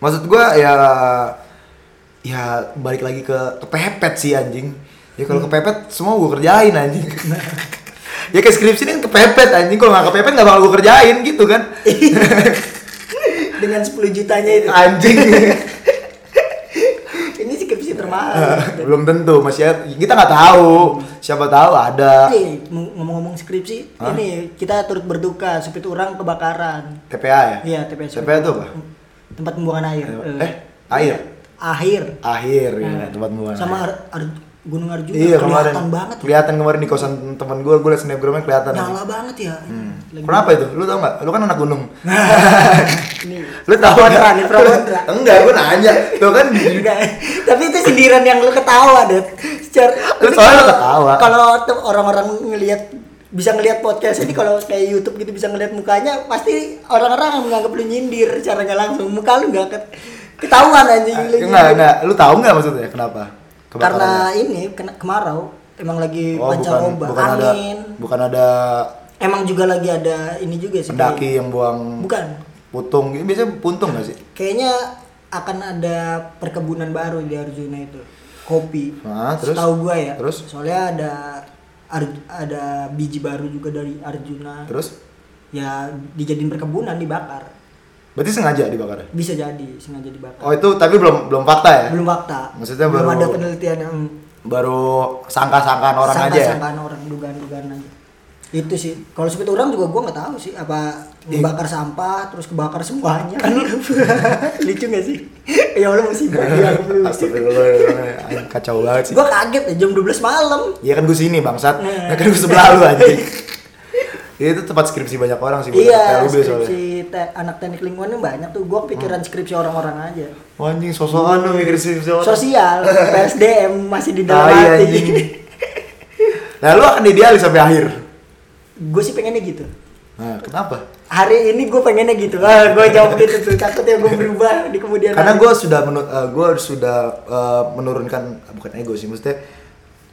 Speaker 2: Maksud gue ya, ya balik lagi ke kepepet sih anjing. Ya kalau
Speaker 1: Hmm.
Speaker 2: kepepet semua gue kerjain anjing. ya kayak skripsi ini kan kepepet anjing, kalau gak kepepet gak bakal gue kerjain gitu kan.
Speaker 1: dengan 10 jutanya itu
Speaker 2: Anjing.
Speaker 1: ini skripsi termahal
Speaker 2: belum tentu masih ada- kita nggak tahu siapa tahu ada
Speaker 1: Nih, ng- ngomong-ngomong skripsi ini kita turut berduka supit orang kebakaran
Speaker 2: TPA ya
Speaker 1: iya TPS
Speaker 2: TPA itu apa
Speaker 1: tempat pembuangan air Eh.
Speaker 2: eh air
Speaker 1: akhir
Speaker 2: akhir ya tempat
Speaker 1: Nah,
Speaker 2: muara
Speaker 1: sama Ar- Ar- Gunung Arjuna
Speaker 2: iya
Speaker 1: kelihatan
Speaker 2: kemarin
Speaker 1: banget
Speaker 2: kelihatan kemarin di kosan teman gue gue liat snapgramnya kelihatan
Speaker 1: nyala banget ya
Speaker 2: Hmm.
Speaker 1: Lagi-
Speaker 2: kenapa itu lu tau nggak lu kan anak gunung
Speaker 1: Nih.
Speaker 2: lu tau
Speaker 1: Kontra
Speaker 2: nggak?
Speaker 1: nih, pro kontra.
Speaker 2: enggak gue nanya tuh kan
Speaker 1: Enggak. Tapi itu sindiran yang lu ketawa, Dad. Secara
Speaker 2: Lu
Speaker 1: tapi
Speaker 2: soalnya
Speaker 1: kalau-
Speaker 2: ketawa.
Speaker 1: Kalau tuh orang-orang ngelihat bisa ngelihat podcast ini kalau kayak YouTube gitu bisa ngelihat mukanya pasti orang-orang menganggap lu nyindir secara nggak langsung muka lu nggak ket- ketahuan anjing lu
Speaker 2: enggak
Speaker 1: nyindir.
Speaker 2: enggak lu tau Eh, nggak maksudnya kenapa
Speaker 1: karena
Speaker 2: Kebakarannya?
Speaker 1: ini kena kemarau emang lagi
Speaker 2: ya? oh
Speaker 1: pancar
Speaker 2: bukan
Speaker 1: ombak
Speaker 2: bukan ada
Speaker 1: angin
Speaker 2: bukan ada
Speaker 1: emang juga lagi ada ini juga sih
Speaker 2: pendaki yang buang
Speaker 1: bukan
Speaker 2: putung gitu biasanya puntung gak sih
Speaker 1: kayaknya akan ada perkebunan baru di Arjuna itu kopi
Speaker 2: Nah, terus?
Speaker 1: tahu gua ya
Speaker 2: Terus?
Speaker 1: soalnya ada Ar- ada biji baru juga dari Arjuna
Speaker 2: terus
Speaker 1: ya dijadiin perkebunan dibakar
Speaker 2: berarti sengaja ya? dibakarnya
Speaker 1: bisa jadi sengaja dibakar
Speaker 2: oh itu tapi belum belum fakta ya
Speaker 1: belum fakta
Speaker 2: Maksudnya
Speaker 1: belum
Speaker 2: baru-
Speaker 1: ada penelitian yang
Speaker 2: baru sangka-sangkaan orang aja ya
Speaker 1: sangka-sangkaan orang dugaan-dugaan aja itu sih kalau seperti orang juga gua nggak tahu sih apa
Speaker 2: Iya.
Speaker 1: membakar sampah terus kebakar semuanya kan lucu nggak sih ya Allah musibah ya Allah.
Speaker 2: Astagfirullahaladzim, kacau banget sih.
Speaker 1: Gua kaget ya jam 12 malam.
Speaker 2: Iya kan gue sini bangsat,
Speaker 1: Nah.
Speaker 2: ya kan gue sebelah lu aja. itu tempat skripsi banyak orang sih. buat
Speaker 1: iya,
Speaker 2: TLB soalnya.
Speaker 1: skripsi te- anak teknik lingkungannya banyak tuh. Gua pikiran
Speaker 2: Hmm.
Speaker 1: skripsi orang-orang aja.
Speaker 2: Wah, anjing sosokan lu mikir skripsi orang.
Speaker 1: Sosial, PSDM masih di dalam
Speaker 2: Tai, Ah, iya, anjing.
Speaker 1: hati.
Speaker 2: Nah lu akan idealis sampai akhir.
Speaker 1: gue sih pengennya gitu.
Speaker 2: Nah kenapa?
Speaker 1: Hari ini gue pengennya gitu. Ah, gue jawab gitu tuh. Takutnya gue berubah di kemudian
Speaker 2: Karena
Speaker 1: hari.
Speaker 2: gue sudah menu- eh, gua sudah eh, menurunkan eh, bukan ego sih, maksudnya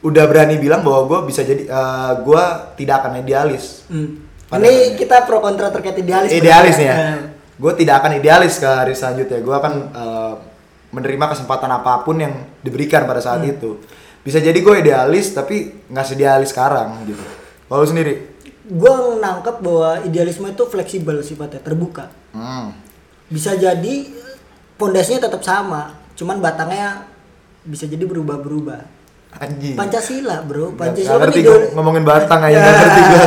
Speaker 2: udah berani bilang bahwa gue bisa jadi eh, gua tidak akan idealis.
Speaker 1: Hmm.
Speaker 2: Pada
Speaker 1: Ini
Speaker 2: akhirnya.
Speaker 1: kita pro kontra terkait idealis.
Speaker 2: idealis nih ya.
Speaker 1: Eh,
Speaker 2: Gue tidak akan idealis ke hari selanjutnya. Gue akan eh, menerima kesempatan apapun yang diberikan pada saat itu. Bisa jadi gue idealis tapi nggak idealis sekarang gitu. Kalau lu sendiri?
Speaker 1: Gue nangkep bahwa idealisme itu fleksibel sifatnya, terbuka.
Speaker 2: Hmm.
Speaker 1: Bisa jadi pondasinya tetap sama, cuman batangnya bisa jadi berubah-berubah.
Speaker 2: Anjing.
Speaker 1: Pancasila bro,
Speaker 2: Iya. Nggak-
Speaker 1: Pancasila
Speaker 2: nggak
Speaker 1: kan
Speaker 2: ngerti gua
Speaker 1: ideologi.
Speaker 2: ngomongin batang aja nggak ngerti gue.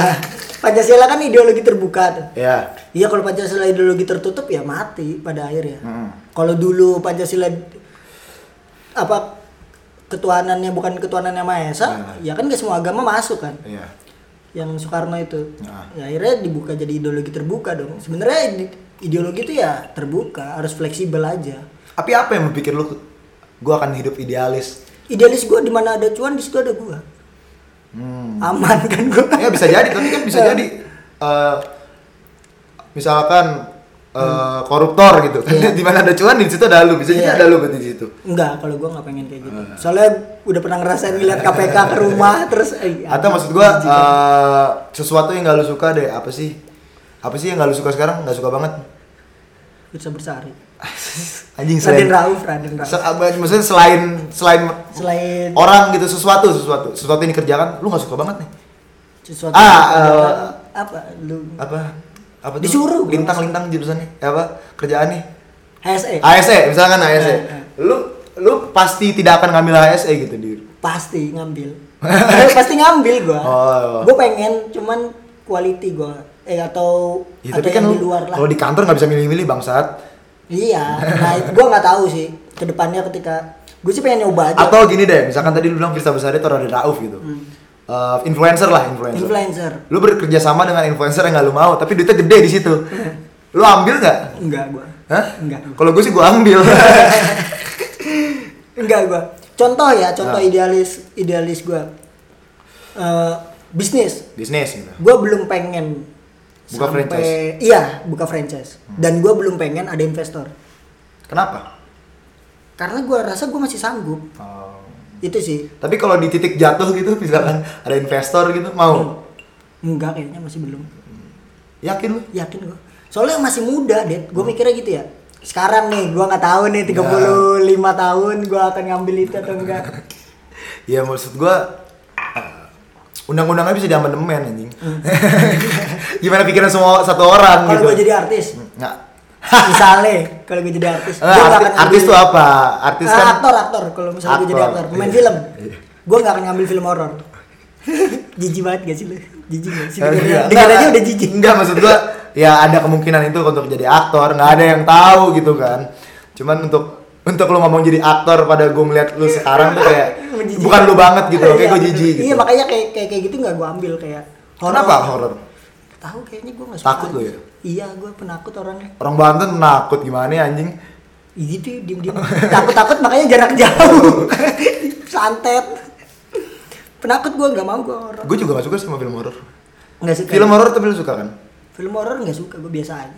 Speaker 1: Pancasila kan ideologi terbuka tuh.
Speaker 2: Ya.
Speaker 1: Iya kalau Pancasila ideologi tertutup ya mati pada akhirnya.
Speaker 2: Mm.
Speaker 1: Kalau dulu Pancasila apa ketuhanannya bukan ketuhanannya Maha Esa, ya kan gak semua agama masuk kan.
Speaker 2: Iya.
Speaker 1: Yang Soekarno itu.
Speaker 2: Nah.
Speaker 1: Ya akhirnya dibuka jadi ideologi terbuka dong. Sebenarnya ide- ideologi itu ya terbuka, harus fleksibel aja.
Speaker 2: Tapi apa yang berpikir lu? Gue akan hidup idealis.
Speaker 1: Idealis gua di mana ada cuan di situ ada gua.
Speaker 2: Hmm.
Speaker 1: Aman kan gua.
Speaker 2: ya bisa jadi tapi kan
Speaker 1: Iya.
Speaker 2: bisa jadi eh, misalkan eh, koruptor gitu
Speaker 1: Hmm. Iya.
Speaker 2: di mana ada cuan di situ ada lu bisa
Speaker 1: Iya.
Speaker 2: jadi ada lu berarti di situ
Speaker 1: Enggak, kalau gua nggak pengen kayak gitu. Soalnya udah pernah ngerasain ngeliat KPK ke rumah terus eh,
Speaker 2: atau
Speaker 1: apa,
Speaker 2: maksud gua
Speaker 1: jijik.
Speaker 2: eh, sesuatu yang nggak lu suka deh apa sih apa sih yang nggak lu suka sekarang nggak suka banget eh,
Speaker 1: Firsa Bersari.
Speaker 2: anjing
Speaker 1: Raden
Speaker 2: selain
Speaker 1: Rauf, Raden Rauf.
Speaker 2: se- apa- maksudnya selain selain
Speaker 1: Selain
Speaker 2: orang gitu sesuatu sesuatu sesuatu yang dikerjakan lu nggak suka banget nih
Speaker 1: sesuatu
Speaker 2: Ah,
Speaker 1: yang
Speaker 2: eh,
Speaker 1: dikerjakan, apa lu
Speaker 2: apa apa tuh?
Speaker 1: Disuruh gua.
Speaker 2: lintang-lintang jurusannya Eh, apa kerjaan nih
Speaker 1: HSE
Speaker 2: ASE E, misalkan ASE
Speaker 1: Eh, eh.
Speaker 2: lu lu pasti tidak akan ngambil ASE gitu di
Speaker 1: pasti ngambil. Eh, pasti ngambil gua.
Speaker 2: Oh.
Speaker 1: Gua pengen cuman quality gua eh atau
Speaker 2: ya,
Speaker 1: atau
Speaker 2: tapi kan
Speaker 1: yang
Speaker 2: lu
Speaker 1: di luar lah.
Speaker 2: kalau di kantor nggak bisa milih-milih bangsat
Speaker 1: Iya, nah itu gua nggak tahu sih kedepannya ketika gua sih pengen nyoba aja.
Speaker 2: atau gini deh misalkan tadi lu bilang Vista Besar itu Raden Rauf gitu
Speaker 1: Hmm.
Speaker 2: Eh, influencer lah influencer.
Speaker 1: influencer.
Speaker 2: lu bekerja sama dengan influencer yang nggak lu mau tapi duitnya gede di situ lu ambil nggak
Speaker 1: Enggak gua.
Speaker 2: Hah?
Speaker 1: Enggak.
Speaker 2: kalau gue sih gue ambil
Speaker 1: Enggak gua. Contoh ya, contoh
Speaker 2: Nah.
Speaker 1: idealis idealis gua. Eh, bisnis.
Speaker 2: bisnis gitu
Speaker 1: Gua belum pengen
Speaker 2: Buka franchise?
Speaker 1: Iya, buka franchise. Dan gua belum pengen ada investor.
Speaker 2: kenapa
Speaker 1: Karena gua rasa gua masih sanggup.
Speaker 2: Oh.
Speaker 1: Itu sih.
Speaker 2: tapi kalau di titik jatuh gitu misalkan ada investor gitu
Speaker 1: Hmm.
Speaker 2: mau
Speaker 1: Enggak kayaknya masih belum.
Speaker 2: yakin lu
Speaker 1: Yakin gua. Soalnya masih muda, Det.
Speaker 2: Hmm.
Speaker 1: Gua mikirnya gitu ya. Sekarang nih gua nggak tahu
Speaker 2: Iya.
Speaker 1: nih 35 tahun gua akan ngambil itu atau enggak.
Speaker 2: Ya maksud gua eh, undang-undangnya bisa diamandemen anjing. Gimana pikiran semua satu
Speaker 1: Hmm.
Speaker 2: orang
Speaker 1: Kalau
Speaker 2: gitu.
Speaker 1: gua jadi artis,
Speaker 2: Nggak.
Speaker 1: misalnya kalau gua jadi artis,
Speaker 2: Nggak,
Speaker 1: nggak
Speaker 2: Eh, arti- artis
Speaker 1: ngambil-
Speaker 2: tuh apa? Artis
Speaker 1: Ah,
Speaker 2: kan
Speaker 1: aktor aktor kalau misalnya gue jadi
Speaker 2: Aktor,
Speaker 1: aktor pemain
Speaker 2: iya.
Speaker 1: film
Speaker 2: Iya.
Speaker 1: gue nggak akan ngambil film horor jijik banget gak sih lu jijik gak sih dengarnya
Speaker 2: Nggak,
Speaker 1: Dengar aja
Speaker 2: nggak.
Speaker 1: udah jijik
Speaker 2: Eh, iya. Nggak, maksud gua ya ada kemungkinan itu untuk jadi aktor, nggak ada yang tahu gitu kan. Cuman untuk untuk lu ngomong jadi aktor pada gua ngeliat lu sekarang tuh kayak
Speaker 1: jijik.
Speaker 2: Bukan lu banget gitu,
Speaker 1: Iya,
Speaker 2: kayak gua
Speaker 1: bener.
Speaker 2: jijik gitu.
Speaker 1: Iya makanya kayak kayak kayak gitu nggak gua ambil kayak.
Speaker 2: Kenapa horor?
Speaker 1: Nggak Tahu kayaknya gua nggak suka.
Speaker 2: Takut lu ya?
Speaker 1: Iya, gua penakut orangnya.
Speaker 2: Orang Banten nakut gimana ya, anjing?
Speaker 1: Ih, Gitu diem diem. takut takut makanya jarak jauh. Santet. Penakut gua nggak mau gua horor.
Speaker 2: Gue juga gak suka sama film horor.
Speaker 1: Nggak suka.
Speaker 2: Film horor tapi lu suka kan?
Speaker 1: film horor nggak suka gue biasa aja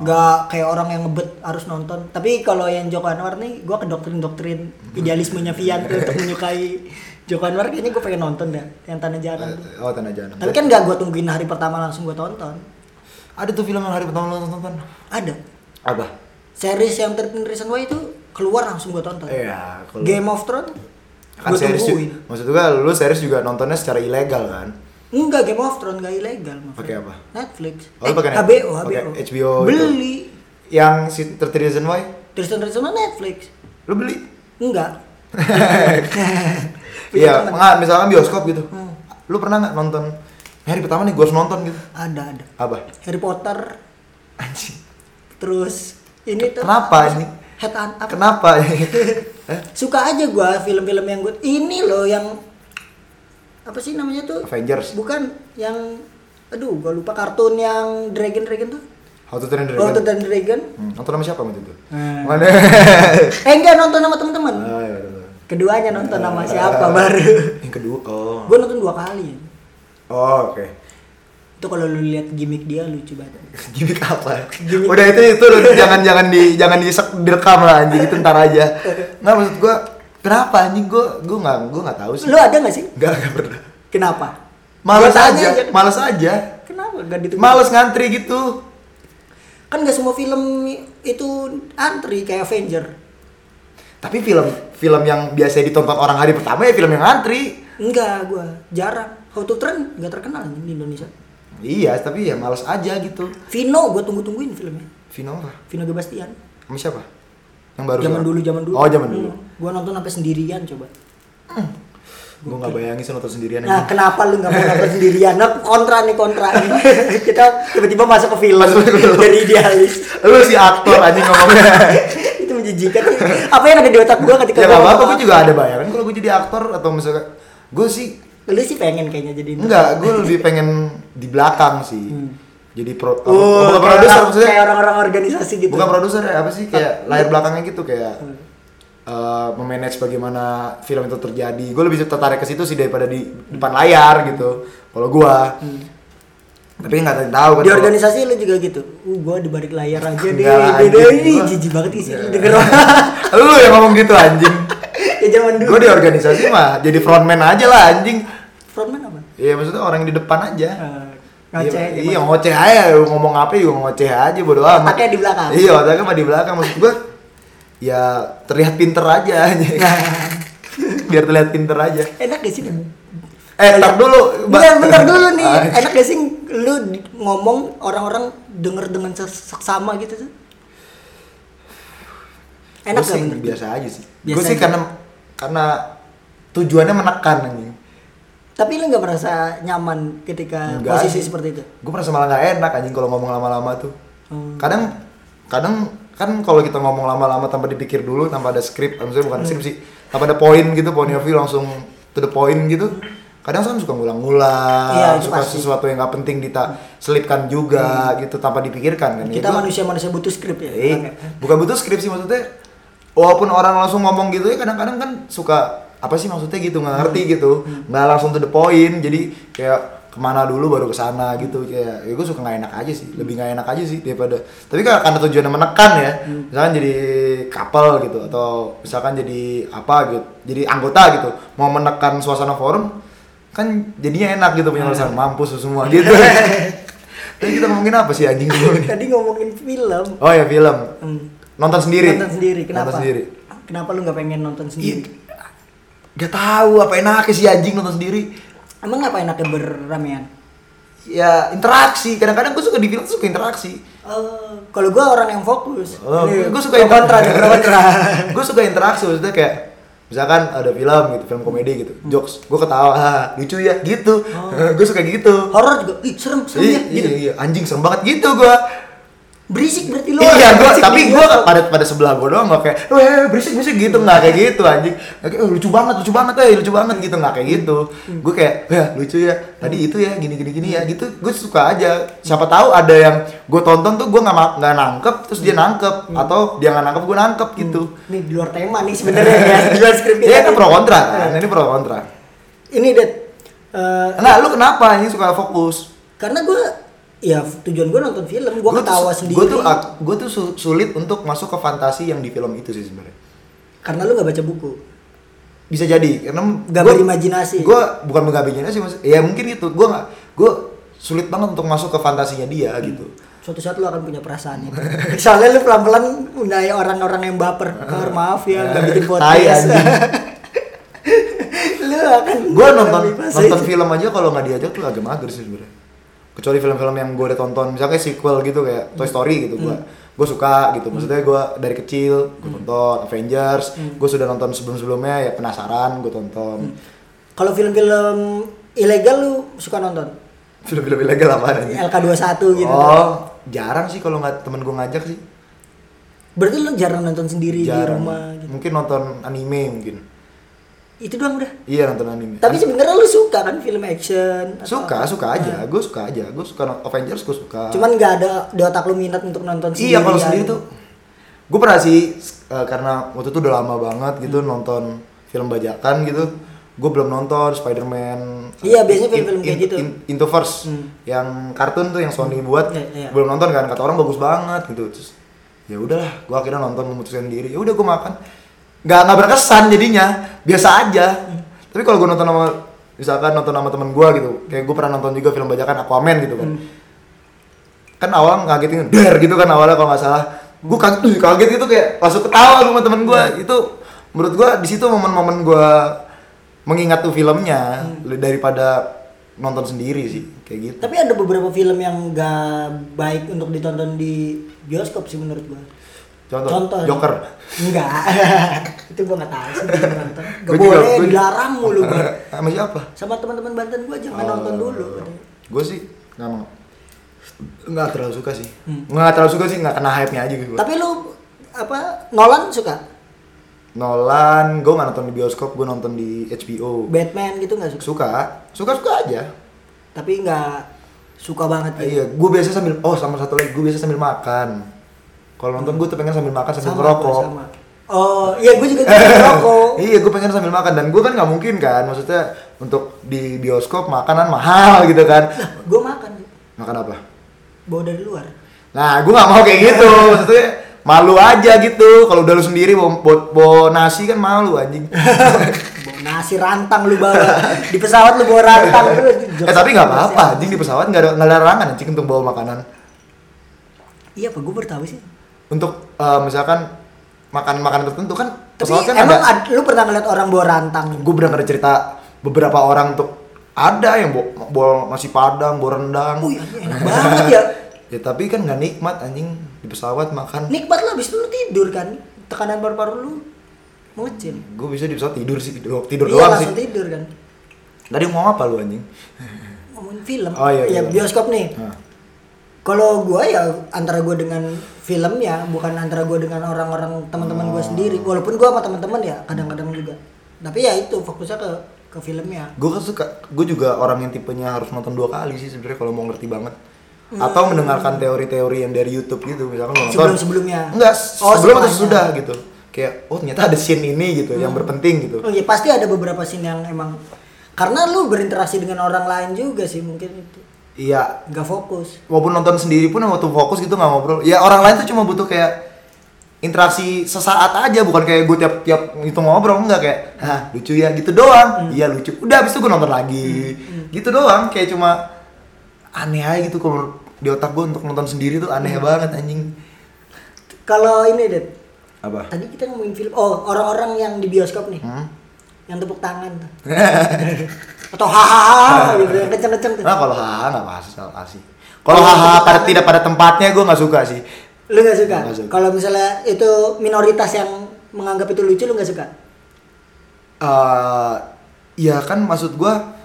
Speaker 1: nggak kayak orang yang ngebet harus nonton tapi kalau yang Joko Anwar nih gue ke doktrin doktrin idealismenya Vian tuh untuk menyukai Joko Anwar kayaknya gue pengen nonton dah yang Tanah Jalan tuh.
Speaker 2: Oh, Tanah Jahanam.
Speaker 1: tapi kan nggak gue tungguin hari pertama langsung gue tonton
Speaker 2: Ada tuh film yang hari pertama lu nonton.
Speaker 1: ada
Speaker 2: Apa?
Speaker 1: series yang terpin Reason Why itu keluar langsung gue tonton
Speaker 2: Iya, kalau
Speaker 1: Game of Thrones
Speaker 2: kan
Speaker 1: gue
Speaker 2: series juga.
Speaker 1: tungguin
Speaker 2: Maksud gue lu series juga nontonnya secara ilegal kan?
Speaker 1: enggak Game of Thrones nggak ilegal Mas.
Speaker 2: Pakai apa?
Speaker 1: Netflix
Speaker 2: Oh, lu pakai Netflix.
Speaker 1: HBO
Speaker 2: Pakai
Speaker 1: HBO
Speaker 2: HBO itu.
Speaker 1: beli
Speaker 2: Yang si 30 Reasons Why
Speaker 1: Tristan Reason Why Netflix
Speaker 2: lu beli?
Speaker 1: enggak Punya
Speaker 2: Iya,
Speaker 1: temen.
Speaker 2: nggak, misalkan bioskop gitu. Lu pernah nggak nonton hari pertama nih gue harus nonton gitu?
Speaker 1: ada ada
Speaker 2: Apa?
Speaker 1: Harry Potter
Speaker 2: Anjing.
Speaker 1: terus ini tuh
Speaker 2: Kenapa ini?
Speaker 1: head on up.
Speaker 2: Kenapa? Eh,
Speaker 1: suka aja gua film-film yang gue ini loh yang apa sih namanya tuh
Speaker 2: Avengers.
Speaker 1: bukan yang aduh gua lupa kartun yang dragon dragon tuh
Speaker 2: How to Train Your
Speaker 1: Lord of
Speaker 2: Dragon.
Speaker 1: the Dragon
Speaker 2: Hmm, nonton sama siapa waktu itu?
Speaker 1: Hmm.
Speaker 2: Mana?
Speaker 1: eh enggak nonton sama temen-temen
Speaker 2: Ah, iya, iya.
Speaker 1: keduanya nonton sama
Speaker 2: Hmm.
Speaker 1: siapa baru
Speaker 2: Yang kedua. Oh.
Speaker 1: gua nonton dua kali ya.
Speaker 2: Oh, oke.
Speaker 1: itu kalau lu lihat gimmick dia lucu banget
Speaker 2: Gimik apa?
Speaker 1: Gimik.
Speaker 2: Udah itu itu lu jangan jangan di jangan disek direkam lah anjing itu ntar aja. Nggak maksud gua kenapa anjing gua gua nggak gua nggak tahu sih.
Speaker 1: lu ada nggak sih
Speaker 2: Nggak nggak pernah.
Speaker 1: kenapa
Speaker 2: Males
Speaker 1: Gua
Speaker 2: aja,
Speaker 1: tanya
Speaker 2: males aja.
Speaker 1: kenapa gak ditunggu
Speaker 2: Males ngantri gitu.
Speaker 1: kan gak semua film itu antri kayak Avenger
Speaker 2: Tapi film film yang biasa ditonton orang hari pertama ya film yang ngantri.
Speaker 1: enggak gua jarang How to Train nggak terkenal di Indonesia
Speaker 2: Iya, tapi ya males aja gitu.
Speaker 1: Vino gua tunggu tungguin filmnya
Speaker 2: Vino apa?
Speaker 1: Vino Gebastian
Speaker 2: Sama siapa? Yang baru
Speaker 1: zaman
Speaker 2: sekarang?
Speaker 1: dulu zaman dulu
Speaker 2: Oh, zaman dulu.
Speaker 1: Hmm. gua nonton sampai sendirian coba
Speaker 2: Gue nggak bayangin sih nonton sendirian
Speaker 1: nah
Speaker 2: aja.
Speaker 1: kenapa lu nggak mau nonton sendirian nah, kontra nih kontra kita tiba-tiba masuk ke film jadi idealis
Speaker 2: Lu si aktor anjing ngomongnya.
Speaker 1: itu menjijikan apa yang ada di otak gua ketika gua
Speaker 2: ya nggak apa-apa,
Speaker 1: ngomong
Speaker 2: gue juga ada bayangan kalau gue jadi aktor atau misalkan gue sih
Speaker 1: lu sih pengen kayaknya jadi
Speaker 2: enggak, gue lebih pengen di belakang sih. Jadi pro, apa-
Speaker 1: Hmm. Oh,
Speaker 2: bukan
Speaker 1: kayak
Speaker 2: produser
Speaker 1: orang-
Speaker 2: maksudnya.
Speaker 1: kayak orang-orang organisasi gitu Hmm.
Speaker 2: Bukan produser ya, apa sih kayak layar belakangnya gitu kayak eh, memanage bagaimana film itu terjadi. Gue lebih tertarik ke situ sih daripada di depan layar gitu. Kalau gue,
Speaker 1: Hmm.
Speaker 2: tapi nggak ada yang tahu kan.
Speaker 1: di
Speaker 2: kalau-
Speaker 1: organisasi lu juga gitu uh gua di balik layar aja deh
Speaker 2: Enggak lah,
Speaker 1: Deh, deh,
Speaker 2: anjing.
Speaker 1: ini
Speaker 2: Gua-
Speaker 1: jijik banget isi lu denger orang
Speaker 2: lu yang ngomong gitu anjing.
Speaker 1: ya zaman dulu
Speaker 2: gue di organisasi mah jadi frontman aja lah anjing
Speaker 1: frontman apa
Speaker 2: Iya maksudnya orang yang di depan aja
Speaker 1: Eh, ngoceh
Speaker 2: Iya,
Speaker 1: aja
Speaker 2: iya ngoceh aja lu ngomong apa juga ngoceh aja bodo amat
Speaker 1: Otaknya di belakang.
Speaker 2: iya otaknya mah di belakang maksud gue ya terlihat pinter aja anjing.
Speaker 1: Nah.
Speaker 2: biar terlihat pinter aja
Speaker 1: enak gak sih nih
Speaker 2: eh ntar dulu Mbak.
Speaker 1: bentar, bentar dulu nih
Speaker 2: Ah,
Speaker 1: enak gak sih lu di- ngomong orang-orang denger dengan ses- seksama gitu tuh enak
Speaker 2: gua
Speaker 1: gak
Speaker 2: sih
Speaker 1: menurut lu?
Speaker 2: biasa aja sih gue
Speaker 1: ya, Biasa
Speaker 2: sih
Speaker 1: aja.
Speaker 2: karena karena tujuannya menekan anjing
Speaker 1: tapi lu nggak merasa nyaman ketika
Speaker 2: Enggak
Speaker 1: posisi
Speaker 2: sih.
Speaker 1: seperti itu
Speaker 2: gue merasa malah nggak enak anjing kalau ngomong lama-lama tuh
Speaker 1: Hmm.
Speaker 2: kadang kadang kan kalau kita ngomong lama-lama tanpa dipikir dulu tanpa ada skrip eh, maksudnya bukan skrip
Speaker 1: Hmm.
Speaker 2: sih tanpa ada poin gitu point of view langsung to the point gitu kadang kan suka ngulang-ngulang
Speaker 1: Iya, itu
Speaker 2: suka
Speaker 1: pasti. Hmm.
Speaker 2: sesuatu yang nggak penting kita selipkan juga gitu tanpa dipikirkan kan
Speaker 1: kita
Speaker 2: Itu-
Speaker 1: manusia-manusia butuh skrip ya
Speaker 2: Eh,
Speaker 1: Bang, ya?
Speaker 2: bukan butuh skrip sih maksudnya walaupun orang langsung ngomong gitu ya kadang-kadang kan suka apa sih maksudnya gitu nggak ngerti gitu nggak langsung to the point jadi kayak kemana dulu baru kesana gitu kayak ya gue suka nggak enak aja sih lebih nggak enak aja sih daripada tapi kan karena tujuannya menekan ya misalkan jadi couple gitu atau misalkan jadi apa gitu jadi anggota gitu mau menekan suasana forum kan jadinya enak gitu punya alasan mampus lu semua gitu tapi kita ngomongin apa sih anjing
Speaker 1: tadi ngomongin film
Speaker 2: Oh ya film. Nonton
Speaker 1: Hmm.
Speaker 2: sendiri.
Speaker 1: nonton sendiri kenapa
Speaker 2: Nonton sendiri. Iya.
Speaker 1: kenapa lu nggak pengen nonton sendiri
Speaker 2: Gak tahu apa enaknya sih anjing nonton sendiri.
Speaker 1: emang apa enaknya berramean
Speaker 2: Ya interaksi. Kadang-kadang gue suka di film tuh suka interaksi.
Speaker 1: Eh, kalau gue orang yang fokus Iya,
Speaker 2: Oh,
Speaker 1: Nih,
Speaker 2: gue suka
Speaker 1: pro kontra nih, pro kontra
Speaker 2: gue suka interaksi maksudnya kayak misalkan ada film gitu, film komedi gitu,
Speaker 1: Hmm.
Speaker 2: jokes, gue ketawa, "Ah, lucu ya, gitu, gue suka gitu.
Speaker 1: horor juga ih serem serem
Speaker 2: Iya,
Speaker 1: Oh. ya gitu
Speaker 2: iya, iya, anjing serem banget gitu gue.
Speaker 1: berisik berarti lu
Speaker 2: iya
Speaker 1: orang
Speaker 2: gua,
Speaker 1: berisik gitu.
Speaker 2: tapi
Speaker 1: nih,
Speaker 2: gue pada pada sebelah gue doang nggak kayak weh berisik berisik gitu nggak kayak gitu anjing Nggak kayak, "Eh, lucu banget lucu banget eh lucu banget gitu nggak kayak gitu
Speaker 1: Hmm.
Speaker 2: gue kayak ya lucu ya tadi itu ya gini gini gini ya gitu gue suka aja siapa tahu ada yang gue tonton tuh gue nggak ma- nggak nangkep terus dia nangkep
Speaker 1: Hmm.
Speaker 2: atau dia nggak nangkep gue nangkep gitu
Speaker 1: nih di luar tema nih sebenarnya ya di luar skrip kita
Speaker 2: ya itu
Speaker 1: nih.
Speaker 2: pro kontra kan
Speaker 1: Iya.
Speaker 2: ini pro kontra
Speaker 1: ini det eh,
Speaker 2: nah lu kenapa ini suka fokus
Speaker 1: karena gue ya tujuan gue nonton film gue ketawa sendiri
Speaker 2: gue tuh gue tuh su- sulit untuk masuk ke fantasi yang di film itu sih sebenarnya
Speaker 1: karena lu gak baca buku
Speaker 2: bisa jadi karena
Speaker 1: Gambar imajinasi.
Speaker 2: gue bukan menggambar imajinasi mas ya mungkin itu gue nggak gue sulit banget untuk masuk ke fantasinya dia gitu
Speaker 1: suatu saat lu akan punya perasaan itu soalnya lu pelan pelan undai orang-orang yang baper "Kar, maaf ya gak bikin
Speaker 2: Iya. Tai,
Speaker 1: podcast
Speaker 2: anjing.
Speaker 1: lu akan
Speaker 2: gue nonton
Speaker 1: bebas aja.
Speaker 2: nonton film aja kalau nggak diajak tuh agak mager sih sebenarnya kecuali film-film yang gue udah tonton misalnya kayak sequel gitu kayak
Speaker 1: Hmm.
Speaker 2: Toy Story gitu gue gue suka gitu maksudnya gue dari kecil
Speaker 1: Hmm.
Speaker 2: gue nonton Avengers gue sudah nonton sebelum-sebelumnya ya penasaran gue
Speaker 1: Hmm.
Speaker 2: tonton
Speaker 1: kalau film-film ilegal lu suka nonton
Speaker 2: film-film ilegal apa nanti
Speaker 1: LK21 gitu
Speaker 2: oh jarang sih kalau nggak temen gue ngajak sih
Speaker 1: berarti lu jarang nonton sendiri di
Speaker 2: jarang
Speaker 1: rumah gitu.
Speaker 2: mungkin nonton anime mungkin
Speaker 1: itu doang udah
Speaker 2: Iya nonton anime.
Speaker 1: tapi sebenarnya lu suka kan film action atau-
Speaker 2: suka suka aja, gue suka aja, gue suka no- Avengers gue suka.
Speaker 1: cuman gak ada di otak lu minat untuk nonton sendiri
Speaker 2: iya kalau sendiri tuh, gue pernah sih s- eh, karena waktu itu udah lama banget
Speaker 1: Hmm.
Speaker 2: gitu nonton film bajakan gitu, gue belum nonton Spider-Man. eh,
Speaker 1: Iya, biasanya film-film kayak gitu.
Speaker 2: Into First yang kartun tuh yang Sony buat,
Speaker 1: Iya, iya.
Speaker 2: belum nonton kan kata orang bagus banget gitu. Terus ya udahlah, gue akhirnya nonton memutuskan diri. Ya udah gue makan, nggak nggak berkesan jadinya, biasa aja.
Speaker 1: Hmm.
Speaker 2: Tapi kalau gue nonton sama misalkan nonton sama temen gue gitu, kayak gue pernah nonton juga film bajakan Aquaman gitu kan
Speaker 1: Hmm.
Speaker 2: kan awal ngagetin der gitu kan awalnya kalau nggak salah gue kaget, ih, kaget gitu kayak langsung ketawa gue sama temen gue
Speaker 1: Iya.
Speaker 2: itu menurut gue di situ momen-momen gue mengingat tuh filmnya
Speaker 1: Hmm.
Speaker 2: daripada nonton sendiri sih kayak gitu
Speaker 1: tapi ada beberapa film yang gak baik untuk ditonton di bioskop sih menurut gua
Speaker 2: contoh,
Speaker 1: Contoh.
Speaker 2: Joker
Speaker 1: enggak itu gua gak tahu sih gua nonton
Speaker 2: Gua
Speaker 1: gak
Speaker 2: juga,
Speaker 1: boleh
Speaker 2: gua-
Speaker 1: dilarang mulu gua
Speaker 2: sama siapa
Speaker 1: sama teman-teman Banten gua jangan
Speaker 2: Oh.
Speaker 1: nonton dulu katanya.
Speaker 2: gue sih nggak mau nggak terlalu suka sih nggak terlalu suka sih nggak kena hype nya aja gitu
Speaker 1: Hmm. tapi lu apa Nolan suka
Speaker 2: Nolan gue nggak nonton di bioskop gue nonton di HBO
Speaker 1: Batman gitu nggak suka
Speaker 2: suka suka suka aja
Speaker 1: tapi nggak suka banget
Speaker 2: Ah,
Speaker 1: gitu
Speaker 2: Iya, gue biasa sambil oh sama satu lagi gue biasa sambil makan. Kalau nonton gue tuh pengen sambil makan sambil
Speaker 1: sama
Speaker 2: ngerokok.
Speaker 1: gua, sama oh iya gua juga suka ngerokok
Speaker 2: Iya, gue pengen sambil makan dan gue kan nggak mungkin kan, maksudnya untuk di bioskop makanan mahal gitu kan.
Speaker 1: gua makan
Speaker 2: Makan apa?
Speaker 1: bawa dari luar
Speaker 2: Nah, gue nggak mau kayak gitu, maksudnya malu aja gitu. Kalau udah lu sendiri bawa, bawa- bawa nasi kan malu anjing.
Speaker 1: bawa nasi rantang lu bawa di pesawat lu bawa rantang lu
Speaker 2: eh tapi nggak apa-apa, anjing di pesawat nggak ada nggak ada larangan anjing untuk bawa makanan.
Speaker 1: iya apa gua bertahu sih
Speaker 2: Untuk eh, misalkan makanan-makanan tertentu kan
Speaker 1: tapi
Speaker 2: pesawat kan
Speaker 1: emang ad- lu pernah ngeliat orang bawa rantang
Speaker 2: gue pernah ada cerita beberapa orang tuh ada yang bo- bawa nasi padang, bawa rendang.
Speaker 1: Wih, anjing Oh iya, enak banget ya.
Speaker 2: ya tapi kan nggak nikmat anjing di pesawat makan.
Speaker 1: nikmat lah abis itu lu tidur kan tekanan paru-paru lu mengecil
Speaker 2: Gue bisa di pesawat tidur sih, tidur, tidur
Speaker 1: iya
Speaker 2: doang sih.
Speaker 1: langsung tidur kan
Speaker 2: Tadi ngomong apa lu anjing?
Speaker 1: ngomongin film
Speaker 2: Oh, iya,
Speaker 1: ya
Speaker 2: iya.
Speaker 1: bioskop nih
Speaker 2: Hah.
Speaker 1: kalau gua ya antara gua dengan film ya bukan antara gua dengan orang-orang teman-teman gua sendiri
Speaker 2: Oh.
Speaker 1: walaupun gua sama teman-teman ya kadang-kadang juga tapi ya itu fokusnya ke ke filmnya
Speaker 2: Gue kan suka, gue juga orang yang tipenya harus nonton dua kali sih sebenarnya kalau mau ngerti banget.
Speaker 1: Hmm.
Speaker 2: Atau mendengarkan teori-teori yang dari YouTube gitu, misalkan lu nonton.
Speaker 1: Sebelum-sebelumnya?
Speaker 2: Enggak,
Speaker 1: Oh,
Speaker 2: sebelum atau
Speaker 1: setelahnya.
Speaker 2: sesudah gitu. Kayak, oh ternyata ada scene ini gitu, yang berpenting gitu.
Speaker 1: oh ya pasti ada beberapa scene yang emang karena lu berinteraksi dengan orang lain juga sih mungkin itu
Speaker 2: Iya,
Speaker 1: nggak fokus
Speaker 2: walaupun nonton sendiri pun waktu fokus gitu nggak ngobrol ya orang lain tuh cuma butuh kayak interaksi sesaat aja bukan kayak gue tiap tiap itu ngobrol nggak kayak hah lucu ya gitu doang iya lucu udah abis itu gue nonton lagi gitu doang kayak cuma aneh aja gitu kalau di otak gue untuk nonton sendiri tuh aneh banget anjing
Speaker 1: kalau ini deh
Speaker 2: apa
Speaker 1: tadi kita ngomongin film oh orang-orang yang di bioskop nih
Speaker 2: Hmm?
Speaker 1: yang tepuk tangan tuh. atau hahaha gitu yang kenceng-kenceng tuh
Speaker 2: nah kalau haha nggak masalah sih kalau haha pada tidak pada tempatnya gue nggak suka sih
Speaker 1: lu nggak suka
Speaker 2: Nggak suka.
Speaker 1: kalau misalnya itu minoritas yang menganggap itu lucu lu nggak suka
Speaker 2: eh ya kan maksud gua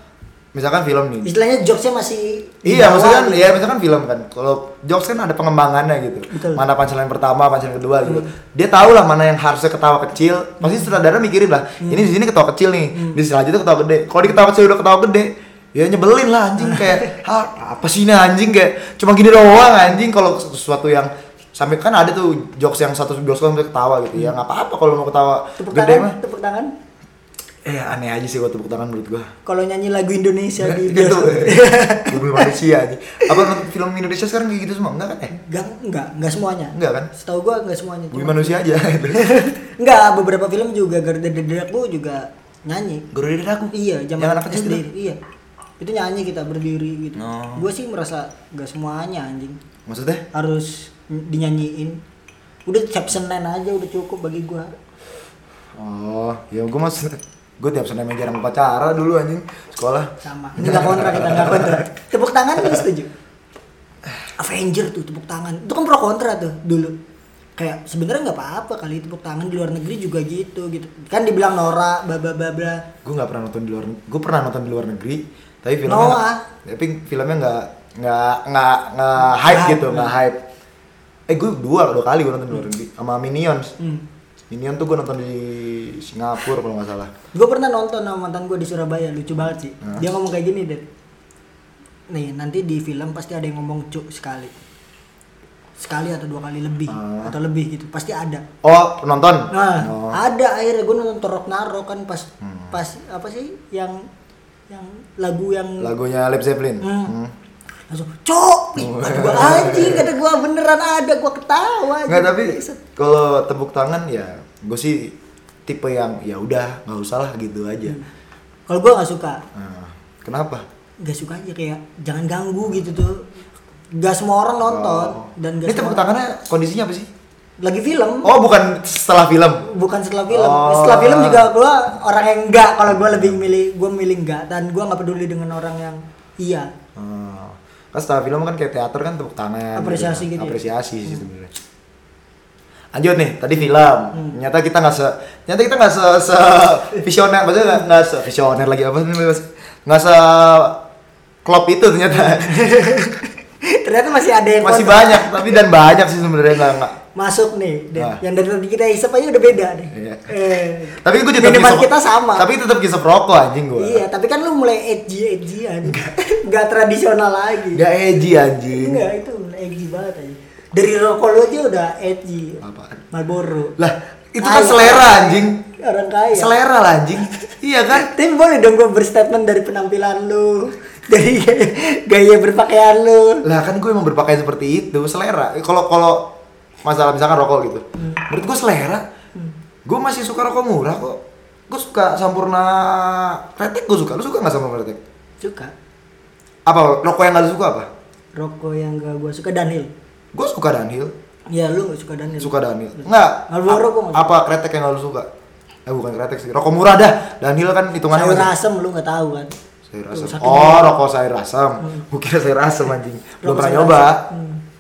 Speaker 2: misalkan film nih
Speaker 1: Istilahnya jokesnya masih di
Speaker 2: Iya,
Speaker 1: bawah
Speaker 2: maksudnya kan,
Speaker 1: gitu.
Speaker 2: ya misalkan film kan. Kalau jokes kan ada pengembangannya gitu.
Speaker 1: Betul.
Speaker 2: Mana punchline pertama, punchline kedua gitu. Dia tahu lah mana yang harusnya ketawa kecil.
Speaker 1: Hmm.
Speaker 2: Pasti sutradara mikirin lah. Ini di sini ketawa kecil nih. Di selanjutnya ketawa gede. Kalau di ketawa kecil udah ketawa gede, ya nyebelin lah anjing kayak "Ah, apa sih ini anjing kayak cuma gini doang anjing kalau sesuatu yang sampai kan ada tuh jokes yang satu bioskop sampai ketawa gitu ya nggak apa-apa kalau mau ketawa
Speaker 1: Hmm. Tepuk
Speaker 2: gede
Speaker 1: tangan,
Speaker 2: mah
Speaker 1: tepuk tangan.
Speaker 2: eh aneh aja sih kalau tepuk tangan menurut gua
Speaker 1: Kalau nyanyi lagu Indonesia di
Speaker 2: gitu
Speaker 1: bioskop.
Speaker 2: bumi manusia aja apa film Indonesia sekarang kayak gitu semua enggak kan ya
Speaker 1: Enggak, enggak, enggak semuanya.
Speaker 2: enggak kan
Speaker 1: Setahu gua enggak semuanya.
Speaker 2: bumi
Speaker 1: cuma-
Speaker 2: manusia aja
Speaker 1: Enggak, beberapa film juga Garuda Dedaku juga nyanyi.
Speaker 2: guru dari aku
Speaker 1: Iya, zaman
Speaker 2: Yang anak kecil
Speaker 1: SD. Iya. Itu nyanyi kita berdiri gitu.
Speaker 2: Oh.
Speaker 1: Gua sih merasa enggak semuanya anjing.
Speaker 2: maksudnya
Speaker 1: Harus n- dinyanyiin. Udah cap Senin aja udah cukup bagi gua.
Speaker 2: oh ya gue mas gue tiap senin main jarang pacara dulu anjing sekolah
Speaker 1: Sama. Ini enggak kontrak kita, enggak kontrak. Tepuk tangan lu setuju? Avenger tuh tepuk tangan. Itu kan pro kontra tuh dulu. Kayak sebenarnya nggak apa-apa kali tepuk tangan di luar negeri juga gitu gitu. Kan dibilang Nora bla bla bla bla.
Speaker 2: gue nggak pernah nonton di luar gue pernah nonton di luar negeri tapi filmnya
Speaker 1: Noah.
Speaker 2: tapi filmnya nggak nggak nggak nggak hype
Speaker 1: Hype,
Speaker 2: gitu nggak hype eh gue dua dua kali gue nonton di luar negeri sama Minions
Speaker 1: Hmm.
Speaker 2: Minions tuh gue nonton di Singapura kalau nggak salah
Speaker 1: Gue pernah nonton sama mantan gue di Surabaya, lucu banget sih.
Speaker 2: Hah?
Speaker 1: Dia ngomong kayak gini, deh Nih, nanti di film pasti ada yang ngomong cuk sekali. Sekali atau dua kali lebih,
Speaker 2: Hah?
Speaker 1: atau lebih gitu. Pasti ada.
Speaker 2: oh penonton
Speaker 1: Nah,
Speaker 2: Ah. Oh. Hmm.
Speaker 1: ada akhirnya gue nonton Torok Naro kan pas pas apa sih yang yang lagu yang
Speaker 2: lagunya Led Zeppelin
Speaker 1: Hmm.
Speaker 2: Hmm.
Speaker 1: langsung cok
Speaker 2: Oh.
Speaker 1: Ih, kata gue anjing kata gue beneran ada gue ketawa
Speaker 2: Nggak tapi kalau tepuk tangan ya gue sih tipe yang ya udah nggak usah lah gitu aja.
Speaker 1: kalau gue nggak suka
Speaker 2: Nah, kenapa?
Speaker 1: nggak suka aja kayak jangan ganggu gitu tuh gak semua orang nonton
Speaker 2: Oh.
Speaker 1: dan gak
Speaker 2: Ini
Speaker 1: semua
Speaker 2: tepuk tangannya kondisinya apa sih?
Speaker 1: lagi film
Speaker 2: Oh bukan setelah film.
Speaker 1: bukan setelah film
Speaker 2: Oh.
Speaker 1: setelah film juga gua orang yang enggak kalau gua lebih milih gua milih enggak dan gua nggak peduli dengan orang yang iya
Speaker 2: Hmm. Kan setelah film kan kayak teater kan tepuk tangan. kan.
Speaker 1: Apresiasi gitu ya?
Speaker 2: Apresiasi sih sebenarnya. Lanjut nih, tadi film.
Speaker 1: Hmm.
Speaker 2: Nyata kita nggak se, nyata kita nggak se, se visioner, maksudnya nggak- nggak se visioner lagi apa sih mas? Nggak se klop itu ternyata.
Speaker 1: ternyata masih ada yang
Speaker 2: Masih
Speaker 1: kontra.
Speaker 2: banyak, tapi dan banyak sih sebenarnya nggak- nggak
Speaker 1: masuk nih Den.
Speaker 2: Nah.
Speaker 1: yang dari tadi kita isep aja udah beda deh
Speaker 2: Iya.
Speaker 1: eh,
Speaker 2: tapi gue tetap
Speaker 1: Minuman
Speaker 2: kisah-
Speaker 1: kita sama.
Speaker 2: tapi tetap kisah perokok anjing gue
Speaker 1: iya tapi kan lu mulai edgy edgyan nggak tradisional lagi
Speaker 2: nggak edgy anjing
Speaker 1: enggak itu edgy banget aja dari rokok lu aja udah edgy
Speaker 2: Apaan?
Speaker 1: Marlboro
Speaker 2: lah itu kan
Speaker 1: Kaya.
Speaker 2: selera anjing
Speaker 1: orang kaya
Speaker 2: selera lah anjing iya kan
Speaker 1: Tapi boleh dong gue berstatement dari penampilan lu, dari gaya berpakaian lu.
Speaker 2: lah kan gue emang berpakaian seperti itu selera Eh, kalau kalau masalah misalkan rokok gitu
Speaker 1: Hmm.
Speaker 2: menurut gue selera gue masih suka rokok murah kok gue suka sampurna kretek gue suka lu suka nggak sampurna kretek
Speaker 1: Suka
Speaker 2: apa rokok yang nggak lu suka apa
Speaker 1: rokok yang gak gue suka Danil.
Speaker 2: gue suka Dunhill
Speaker 1: Ya lu gak suka Danil.
Speaker 2: suka Danil nggak
Speaker 1: Marlboro gua nggak suka.
Speaker 2: apa kretek yang nggak lu suka eh bukan kretek sih rokok murah dah Danhill kan hitungannya
Speaker 1: Sayur
Speaker 2: masih-
Speaker 1: asem lu gak tahu kan.
Speaker 2: sayur asam.
Speaker 1: Tuh, sakit
Speaker 2: Oh, rokok sayur asam. Gue kira sayur asam anjing. Belum
Speaker 1: Hmm. Rokok
Speaker 2: pernah
Speaker 1: sayur Hmm.
Speaker 2: nyoba.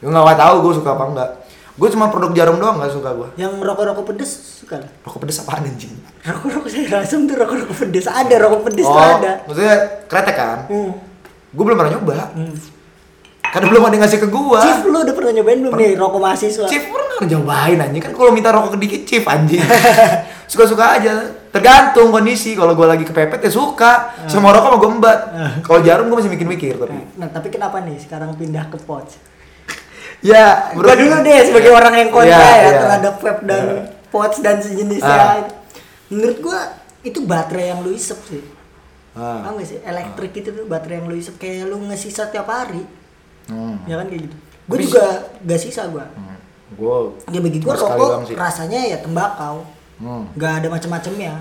Speaker 2: Gue nggak tahu gue suka apa enggak. Gue cuma produk jarum doang nggak suka gue.
Speaker 1: Yang rokok-rokok pedes suka lah.
Speaker 2: Rokok pedes apaan anjing?
Speaker 1: Rokok-rokok sayur asem tuh rokok-rokok pedes. Ada rokok pedes tuh
Speaker 2: oh,
Speaker 1: ada.
Speaker 2: maksudnya kretek kan?
Speaker 1: Hmm.
Speaker 2: Gue belum pernah nyoba. Karena belum ada yang ngasih ke gue.
Speaker 1: Chief lu udah pernah nyobain belum nih rokok mahasiswa?
Speaker 2: Chief pernah nyobain anjing kan kalau minta rokok dikit chief anjing. Suka-suka aja. Tergantung kondisi. Kalau gue lagi kepepet ya suka.
Speaker 1: Hmm.
Speaker 2: Semua rokok mau gue embat. Kalau jarum gue masih mikir-mikir tapi.
Speaker 1: Nah tapi kenapa nih sekarang pindah ke pot?
Speaker 2: Ya,
Speaker 1: Gua
Speaker 2: menurut-
Speaker 1: dulu deh sebagai orang yang kontra
Speaker 2: Iya,
Speaker 1: ya
Speaker 2: iya.
Speaker 1: terhadap vape dan
Speaker 2: Iya.
Speaker 1: pods dan sejenisnya.
Speaker 2: Ah.
Speaker 1: Menurut gua itu baterai yang lu isep sih.
Speaker 2: Ah.
Speaker 1: Paham gak sih? Elektrik itu tuh baterai yang lu isep kayak lu ngesisa tiap hari.
Speaker 2: Hmm.
Speaker 1: Ya kan kayak gitu. Gua juga gak sisa gua.
Speaker 2: Gue
Speaker 1: Ya bagi gua
Speaker 2: Cuma sekali doang
Speaker 1: rokok
Speaker 2: sih.
Speaker 1: rasanya ya tembakau.
Speaker 2: Hmm.
Speaker 1: Gak ada macam-macamnya.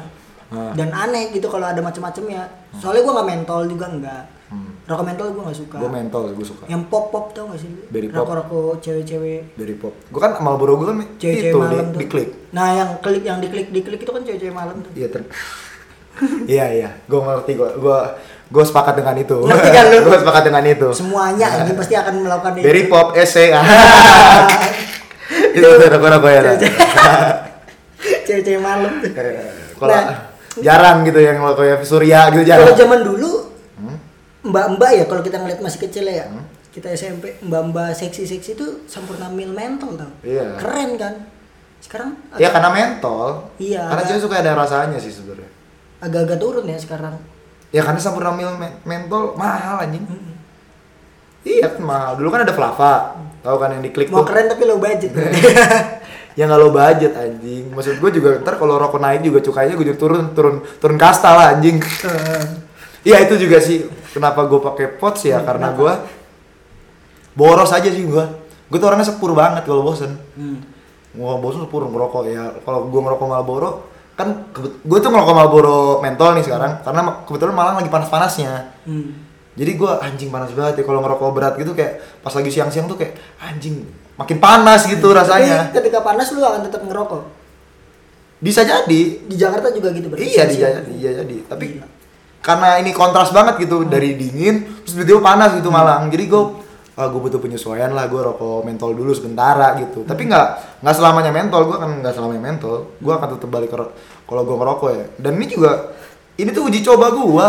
Speaker 2: Ah.
Speaker 1: Dan aneh gitu kalau ada macam-macamnya. Soalnya gua nggak mentol juga enggak.
Speaker 2: Hmm.
Speaker 1: Rokok mentol gua nggak suka.
Speaker 2: Gue mentol, gue suka.
Speaker 1: Yang pop-pop tau gak sih? lu?
Speaker 2: Berry pop.
Speaker 1: Rokok-rokok cewek-cewek
Speaker 2: Dari pop. Gue kan Marlboro gue kan
Speaker 1: cewek-cewek
Speaker 2: itu di,
Speaker 1: malam tuh.
Speaker 2: di klik.
Speaker 1: Nah, yang klik yang diklik diklik itu kan cewek-cewek malam tuh.
Speaker 2: Iya ter. Iya iya, gue ngerti gue gue gue sepakat dengan itu.
Speaker 1: Ngerti kan lu?
Speaker 2: gue sepakat dengan itu.
Speaker 1: Semuanya anjing pasti akan melakukan itu.
Speaker 2: Nah. Dari pop ese. itu udah gue rokok ya. Dan.
Speaker 1: cewek-cewek malam tuh.
Speaker 2: Kalau
Speaker 1: Nah.
Speaker 2: jarang gitu yang lo kayak Surya gitu
Speaker 1: Kalau
Speaker 2: jarang.
Speaker 1: zaman dulu mbak-mbak ya kalau kita ngeliat masih kecil ya
Speaker 2: Hmm?
Speaker 1: kita SMP mbak-mbak seksi-seksi itu sempurna mil mental tau
Speaker 2: Iya.
Speaker 1: keren kan sekarang
Speaker 2: Ya karena mentol.
Speaker 1: Iya,
Speaker 2: Karena
Speaker 1: agak-
Speaker 2: cewek suka ada rasanya sih sebenarnya.
Speaker 1: agak-agak turun ya sekarang
Speaker 2: Ya karena sampurna mil men- mentol mahal anjing. Iya kan mahal. Dulu kan ada Flava. Tahu kan yang diklik
Speaker 1: mau
Speaker 2: tuh.
Speaker 1: keren tapi low budget
Speaker 2: Ya nggak lo budget anjing. Maksud gue juga ntar kalau rokok naik juga cukainya gue juga turun turun turun kasta lah anjing.
Speaker 1: Eh,
Speaker 2: Iya itu juga sih kenapa gue pakai pots ya karena gue boros aja sih gue. Gue tuh orangnya sepur banget kalau bosen.
Speaker 1: hmm.
Speaker 2: Wah bosen sepur ngerokok ya. Kalau gue ngerokok Marlboro kan gue tuh ngerokok Marlboro mentol nih sekarang karena ma- kebetulan malang lagi panas-panasnya.
Speaker 1: Hmm.
Speaker 2: Jadi gue anjing panas banget ya kalau ngerokok berat gitu kayak pas lagi siang-siang tuh kayak anjing makin panas gitu
Speaker 1: Iya.
Speaker 2: rasanya.
Speaker 1: Tapi ketika panas lu akan tetap ngerokok
Speaker 2: Bisa jadi.
Speaker 1: di Jakarta juga gitu berarti
Speaker 2: Iya di iya jadi. Tapi karena ini kontras banget
Speaker 1: Hmm.
Speaker 2: gitu dari dingin terus tiba-tiba panas gitu malang. Jadi gue gue butuh penyesuaian lah gue rokok mentol dulu sebentar gitu
Speaker 1: Hmm.
Speaker 2: tapi nggak nggak selamanya mentol gue kan nggak selamanya mentol gue akan tetap balik ke ro- kalau gue ngerokok ya dan ini juga ini tuh uji coba gue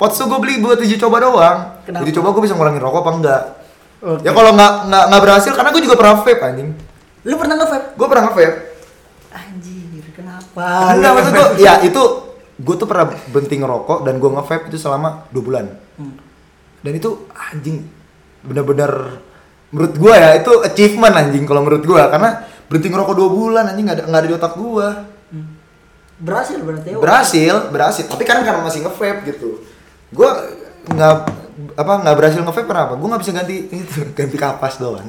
Speaker 2: pots tuh gue beli buat uji coba doang
Speaker 1: Kenapa?
Speaker 2: uji coba gue bisa ngurangin rokok apa enggak
Speaker 1: Oke.
Speaker 2: ya kalau nggak nggak nggak berhasil karena gue juga pernah vape anjing
Speaker 1: lu pernah nge-vape?
Speaker 2: gue pernah vape
Speaker 1: anjir kenapa
Speaker 2: Ah, Enggak
Speaker 1: Lu
Speaker 2: maksud
Speaker 1: nge-vape?
Speaker 2: gue, ya itu gue tuh pernah berhenti ngerokok dan gue nge-vape itu selama 2 bulan.
Speaker 1: Hmm.
Speaker 2: Dan itu anjing benar-benar menurut gue ya itu achievement anjing kalau menurut gue karena berhenti ngerokok 2 bulan anjing nggak ada nggak ada di otak gue.
Speaker 1: berhasil berarti ya
Speaker 2: Berhasil, berhasil. Tapi kan karena masih nge-vape gitu. Gue nggak apa nggak berhasil nge-vape kenapa? Gue nggak bisa ganti itu ganti kapas doang.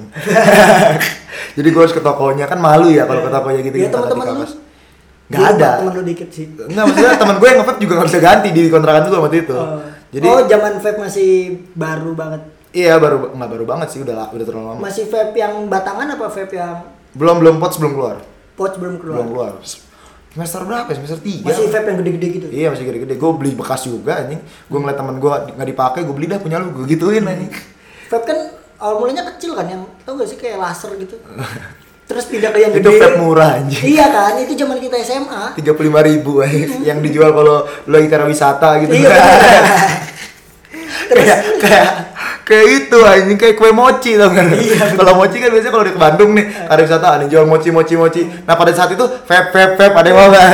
Speaker 2: Jadi gue harus ke tokonya kan malu ya kalau ke tokonya gitu.
Speaker 1: ya
Speaker 2: kita ganti
Speaker 1: teman-teman lu
Speaker 2: kapas. Nggak ada.
Speaker 1: temen lu dikit sih
Speaker 2: Enggak maksudnya teman gue yang nge-vape juga gak bisa ganti di kontrakan gue waktu itu.
Speaker 1: Oh.
Speaker 2: Jadi
Speaker 1: oh zaman vape masih baru banget
Speaker 2: iya baru nggak baru banget sih udah la- udah terlalu lama.
Speaker 1: masih vape yang batangan apa vape yang
Speaker 2: Belum belum pots belum keluar.
Speaker 1: pouch belum keluar
Speaker 2: Belum keluar. Semester berapa ya? Semester 3.
Speaker 1: masih vape yang gede-gede gitu
Speaker 2: Iya masih gede-gede. Gue beli bekas juga anjing. Gue ngeliat teman gue nggak dipakai, gue beli dah punya lu, gue gituin anjing.
Speaker 1: vape kan awal mulanya kecil kan yang tau gak sih kayak laser gitu terus pindah ke yang
Speaker 2: Itu
Speaker 1: gede
Speaker 2: vape murah anjing.
Speaker 1: iya kan itu zaman kita SMA
Speaker 2: tiga puluh lima ribu anjing. yang dijual kalau lu lagi karena wisata gitu
Speaker 1: Iya. Terus-
Speaker 2: kayak kayak kayak itu anjing kayak kue mochi tau
Speaker 1: Iya,
Speaker 2: kan kalau mochi kan biasanya kalau di ke Bandung nih ada wisata ada yang jual mochi mochi mochi nah pada saat itu vape vape vape ada yang mau nggak?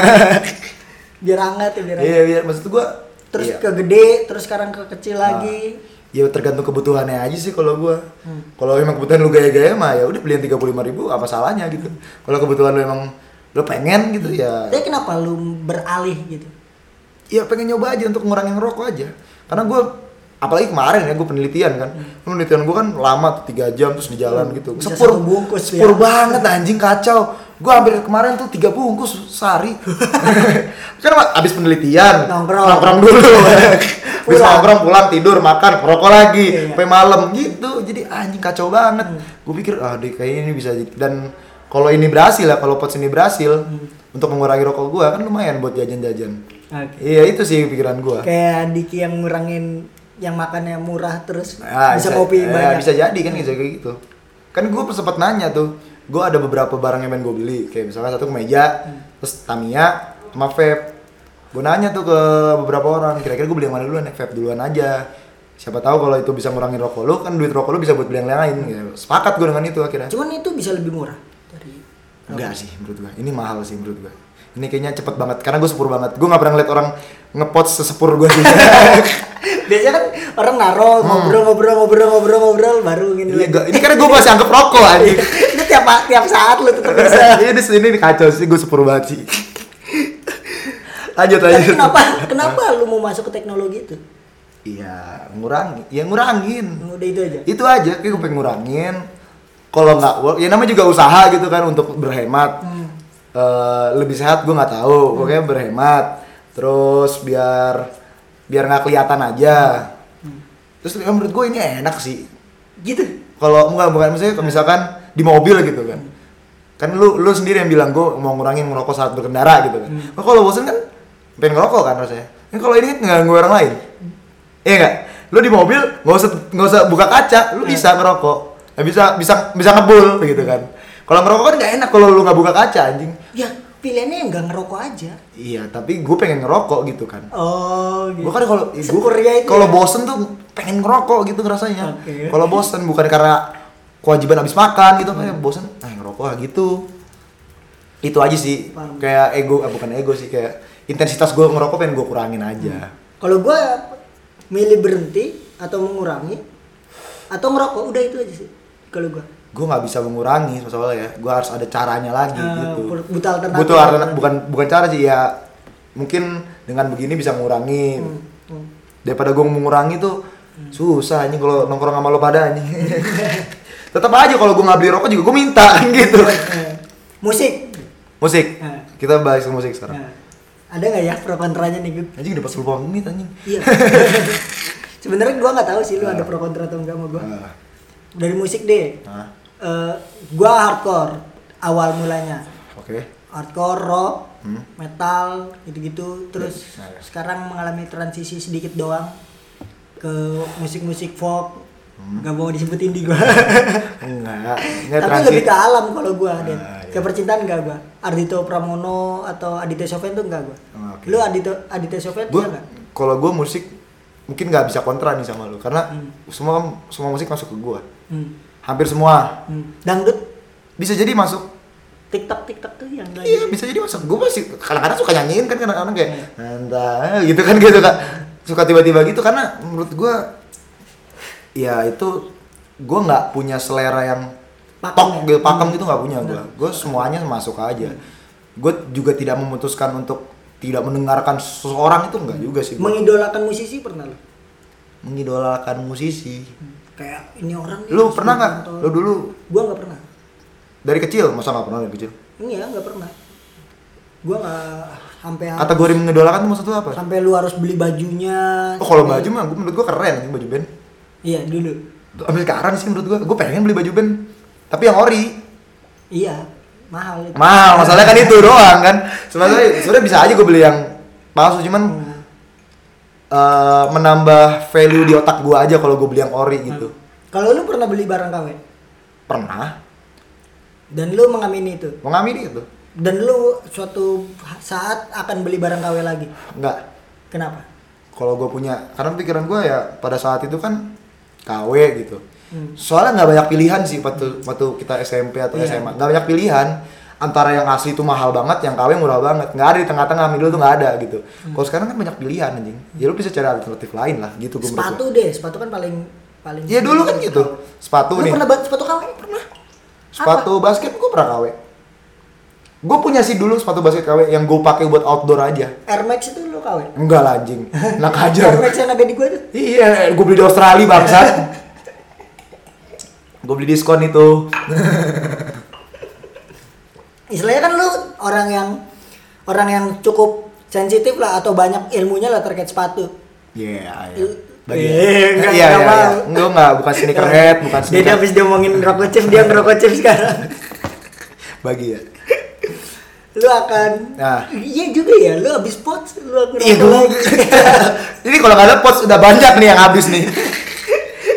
Speaker 1: biar hangat ya biar hangat.
Speaker 2: iya biar maksud gua
Speaker 1: terus
Speaker 2: iya.
Speaker 1: ke gede terus sekarang ke kecil lagi
Speaker 2: ya tergantung kebutuhannya aja sih kalau gua
Speaker 1: Hmm.
Speaker 2: kalau emang kebutuhan lu gaya-gaya mah ya udah beliin tiga puluh lima ribu apa salahnya gitu kalau kebutuhan lu emang lu pengen gitu ya
Speaker 1: tapi kenapa lu beralih gitu
Speaker 2: ya pengen nyoba aja untuk ngurangin rokok aja karena gue apalagi kemarin ya gue penelitian kan penelitian gue kan lama tuh tiga jam terus di jalan gitu
Speaker 1: Hmm, bisa
Speaker 2: sepur
Speaker 1: satu bungkus
Speaker 2: sepur
Speaker 1: ya.
Speaker 2: banget anjing kacau gue hampir kemarin tuh tiga bungkus sehari kan abis penelitian
Speaker 1: Nongkrong.
Speaker 2: dulu abis
Speaker 1: Pulang.
Speaker 2: nongkrong pulang tidur makan rokok lagi
Speaker 1: Iya, Hmm. iya.
Speaker 2: sampai malam gitu jadi anjing kacau banget gue pikir ah deh kayaknya ini bisa jadi dan kalau ini berhasil ya kalau pots ini berhasil
Speaker 1: Hmm.
Speaker 2: untuk mengurangi rokok gue kan lumayan buat jajan-jajan Iya itu sih pikiran gua.
Speaker 1: kayak Diki yang ngurangin yang makannya murah terus
Speaker 2: Ah,
Speaker 1: bisa kopi
Speaker 2: eh,
Speaker 1: banyak
Speaker 2: bisa jadi kan bisa kayak gitu. Kan gua sempat nanya tuh, gua ada beberapa barang yang pengen gua beli, kayak misalkan satu kemeja, terus Tamiya sama vape. Gua nanya tuh ke beberapa orang, kira-kira gua beli yang mana duluan ya? Vape duluan aja. Siapa tahu kalau itu bisa ngurangin rokok lu, kan duit rokok lu bisa buat beli yang lain. gitu. Sepakat gua dengan itu akhirnya.
Speaker 1: cuman itu bisa lebih murah dari
Speaker 2: Enggak sih menurut gua. Ini mahal sih menurut gua. Ini kayaknya cepet banget karena gua sepur banget. Gua nggak pernah ngeliat orang ngepot sesepur gua sih.
Speaker 1: biasanya kan orang naro
Speaker 2: Hmm.
Speaker 1: ngobrol ngobrol ngobrol ngobrol ngobrol baru gini lagi
Speaker 2: Ini Iya, gua- ini karena gua masih anggap rokok anjing.
Speaker 1: itu tiap tiap saat lu tetap bisa
Speaker 2: Iya di sini kacau sih gue sepur banget sih. lanjut
Speaker 1: tapi
Speaker 2: lanjut.
Speaker 1: kenapa kenapa lu mau masuk ke teknologi itu
Speaker 2: Iya ngurangin, ya ngurangin.
Speaker 1: udah itu aja
Speaker 2: Itu aja, kayak gue pengen ngurangin. Kalau nggak work, ya namanya juga usaha gitu kan untuk berhemat.
Speaker 1: Hmm.
Speaker 2: Eh, lebih sehat gue nggak tahu, pokoknya berhemat. Terus biar biar nggak kelihatan aja.
Speaker 1: Hmm.
Speaker 2: Terus ya, menurut gue ini enak sih.
Speaker 1: gitu
Speaker 2: kalau enggak bukan maksudnya kalau misalkan di mobil gitu kan kan lu lu sendiri yang bilang gue mau ngurangin ngerokok saat berkendara gitu kan Nah, kalau bosen kan pengen ngerokok kan rasanya Ini kalau ini kan ngeganggu orang lain iya enggak lu di mobil nggak usah nggak usah buka kaca lu bisa ngerokok Nah, bisa bisa bisa ngebul gitu kan kalau ngerokok kan nggak enak kalau lu nggak buka kaca anjing
Speaker 1: ya pilihannya yang nggak ngerokok aja
Speaker 2: Iya, tapi gue pengen ngerokok gitu kan.
Speaker 1: oh gitu
Speaker 2: Gue kan kalau
Speaker 1: Sekuria
Speaker 2: gue
Speaker 1: itu
Speaker 2: kalau
Speaker 1: ya?
Speaker 2: bosen tuh pengen ngerokok gitu rasanya.
Speaker 1: Oke.
Speaker 2: Kalau bosen bukan karena kewajiban habis makan gitu
Speaker 1: Hmm.
Speaker 2: kayak bosen, nah ngerokok lah gitu. Itu aja sih.
Speaker 1: Paham.
Speaker 2: Kayak ego, eh, bukan ego sih kayak intensitas gue ngerokok pengen gue kurangin aja.
Speaker 1: kalau gue milih berhenti atau mengurangi atau ngerokok udah itu aja sih kalau gue
Speaker 2: Gue nggak bisa mengurangi soalnya ya. Gue harus ada caranya lagi
Speaker 1: Eh,
Speaker 2: gitu.
Speaker 1: butuh alternatif. ya.
Speaker 2: Butuh alterna- bukan bukan cara sih ya. Mungkin dengan begini bisa mengurangi.
Speaker 1: Hmm.
Speaker 2: daripada gue mengurangi tuh susah anjing kalau nongkrong sama lo pada anjing tetap aja kalau gue nggak beli rokok juga gue minta gitu
Speaker 1: Eh, musik
Speaker 2: musik
Speaker 1: Eh.
Speaker 2: kita bahas ke musik sekarang
Speaker 1: Nah, ada nggak ya pro kontranya nih Gun?
Speaker 2: anjing udah pas 10 menit anjing
Speaker 1: Iya. Sebenarnya gua nggak tahu sih lu ada pro kontra atau enggak sama gua.
Speaker 2: Ah,
Speaker 1: Dari musik deh.
Speaker 2: ah,
Speaker 1: Eh, gua hardcore awal mulanya.
Speaker 2: oke
Speaker 1: Hardcore rock,
Speaker 2: Hmm.
Speaker 1: metal gitu-gitu. Terus
Speaker 2: Ya, ya.
Speaker 1: sekarang mengalami transisi sedikit doang ke musik-musik folk. Gak mau disebutin di gua.
Speaker 2: enggak enggak
Speaker 1: Tapi
Speaker 2: transit
Speaker 1: lebih ke alam kalau gua, Den.
Speaker 2: Ah,
Speaker 1: Ke
Speaker 2: iya.
Speaker 1: percintaan enggak gua. Ardito Pramono atau Aditya Sofian tuh enggak gua.
Speaker 2: Oh, oke.
Speaker 1: Lu Adito Aditya Sofian
Speaker 2: gue
Speaker 1: tuh enggak?
Speaker 2: kalau gue musik mungkin nggak bisa kontra nih sama lo karena semua kan, semua musik masuk ke gue
Speaker 1: Hmm.
Speaker 2: hampir semua
Speaker 1: Hmm. Dangdut
Speaker 2: bisa jadi masuk
Speaker 1: TikTok TikTok tuh yang lagi.
Speaker 2: Iya bisa jadi masuk gue masih kadang-kadang suka nyanyiin kan kadang-kadang kayak
Speaker 1: Iya.
Speaker 2: entah gitu kan gitu kak suka tiba-tiba gitu karena menurut gue ya itu gue nggak punya selera yang
Speaker 1: Pakem
Speaker 2: tok
Speaker 1: ya? Hmm.
Speaker 2: gitu pakem gitu nggak punya gue gue semuanya masuk aja gue juga tidak memutuskan untuk tidak mendengarkan seseorang itu enggak juga sih gua.
Speaker 1: Mengidolakan musisi pernah lu?
Speaker 2: mengidolakan musisi
Speaker 1: Kayak ini orang nih,
Speaker 2: lu
Speaker 1: harus
Speaker 2: pernah nggak
Speaker 1: ditonton.
Speaker 2: lu dulu
Speaker 1: Gua nggak pernah.
Speaker 2: dari kecil masa nggak pernah dari kecil
Speaker 1: Iya, nggak pernah. Gua nggak sampai
Speaker 2: kategori mengidolakan itu maksud lu apa
Speaker 1: sampai lu harus beli bajunya.
Speaker 2: oh kalau baju mah gua- menurut gue keren anjing, baju band
Speaker 1: Iya, dulu.
Speaker 2: Ambil sekarang sih menurut gua, gua pengen beli baju band Tapi yang ori
Speaker 1: Iya, mahal itu.
Speaker 2: Mahal, masalahnya kan itu doang kan Sebenarnya sebenarnya bisa aja gua beli yang palsu Cuman eh, menambah value di otak gua aja kalau gua beli yang ori gitu
Speaker 1: Kalau lu pernah beli barang KW
Speaker 2: Pernah,
Speaker 1: dan lu mengamini itu
Speaker 2: mau ngambil gitu
Speaker 1: dan lu suatu saat akan beli barang KW lagi.
Speaker 2: Enggak,
Speaker 1: Kenapa?
Speaker 2: kalau gua punya Karena pikiran gua ya pada saat itu kan KW gitu Soalnya nggak banyak pilihan sih waktu, waktu kita SMP atau
Speaker 1: Hmm. Iya.
Speaker 2: SMA Nggak banyak pilihan antara yang asli itu mahal banget, yang KW murah banget nggak ada di tengah-tengah middle tuh nggak ada gitu
Speaker 1: Hmm.
Speaker 2: kalau sekarang kan banyak pilihan anjing ya lu bisa cari alternatif lain lah gitu gue
Speaker 1: Sepatu deh, sepatu kan paling paling
Speaker 2: ya dulu kan gitu sepatu
Speaker 1: Lu
Speaker 2: nih
Speaker 1: pernah ba- sepatu KW? Pernah.
Speaker 2: sepatu basket gue pernah KW gue punya sih dulu sepatu basket KW yang gue pakai buat outdoor aja
Speaker 1: Air Max itu lu KW?
Speaker 2: enggak lah anjing enak
Speaker 1: Air
Speaker 2: aja
Speaker 1: Max yang ada di gua tuh.
Speaker 2: Iya, gue beli di Australia bangsat. gue beli diskon itu.
Speaker 1: Istilahnya kan lu orang yang orang yang cukup sensitif lah atau banyak ilmunya lah terkait sepatu.
Speaker 2: Iya, iya.
Speaker 1: Bagi- enggak,
Speaker 2: enggak, iya,
Speaker 1: enggak
Speaker 2: iya, iya.
Speaker 1: mau.
Speaker 2: Enggak, enggak, bukan sneakerhead, bukan
Speaker 1: Dia
Speaker 2: sneaker.
Speaker 1: habis dia ngomongin ngerokok chips, dia ngerokok chips sekarang.
Speaker 2: Bagi ya.
Speaker 1: Lu akan
Speaker 2: Nah.
Speaker 1: Iya juga ya, lu habis pot lu akan
Speaker 2: Iya,
Speaker 1: ngerokok
Speaker 2: gua-
Speaker 1: lagi.
Speaker 2: Jadi kalau nggak ada pots udah banyak nih yang habis nih.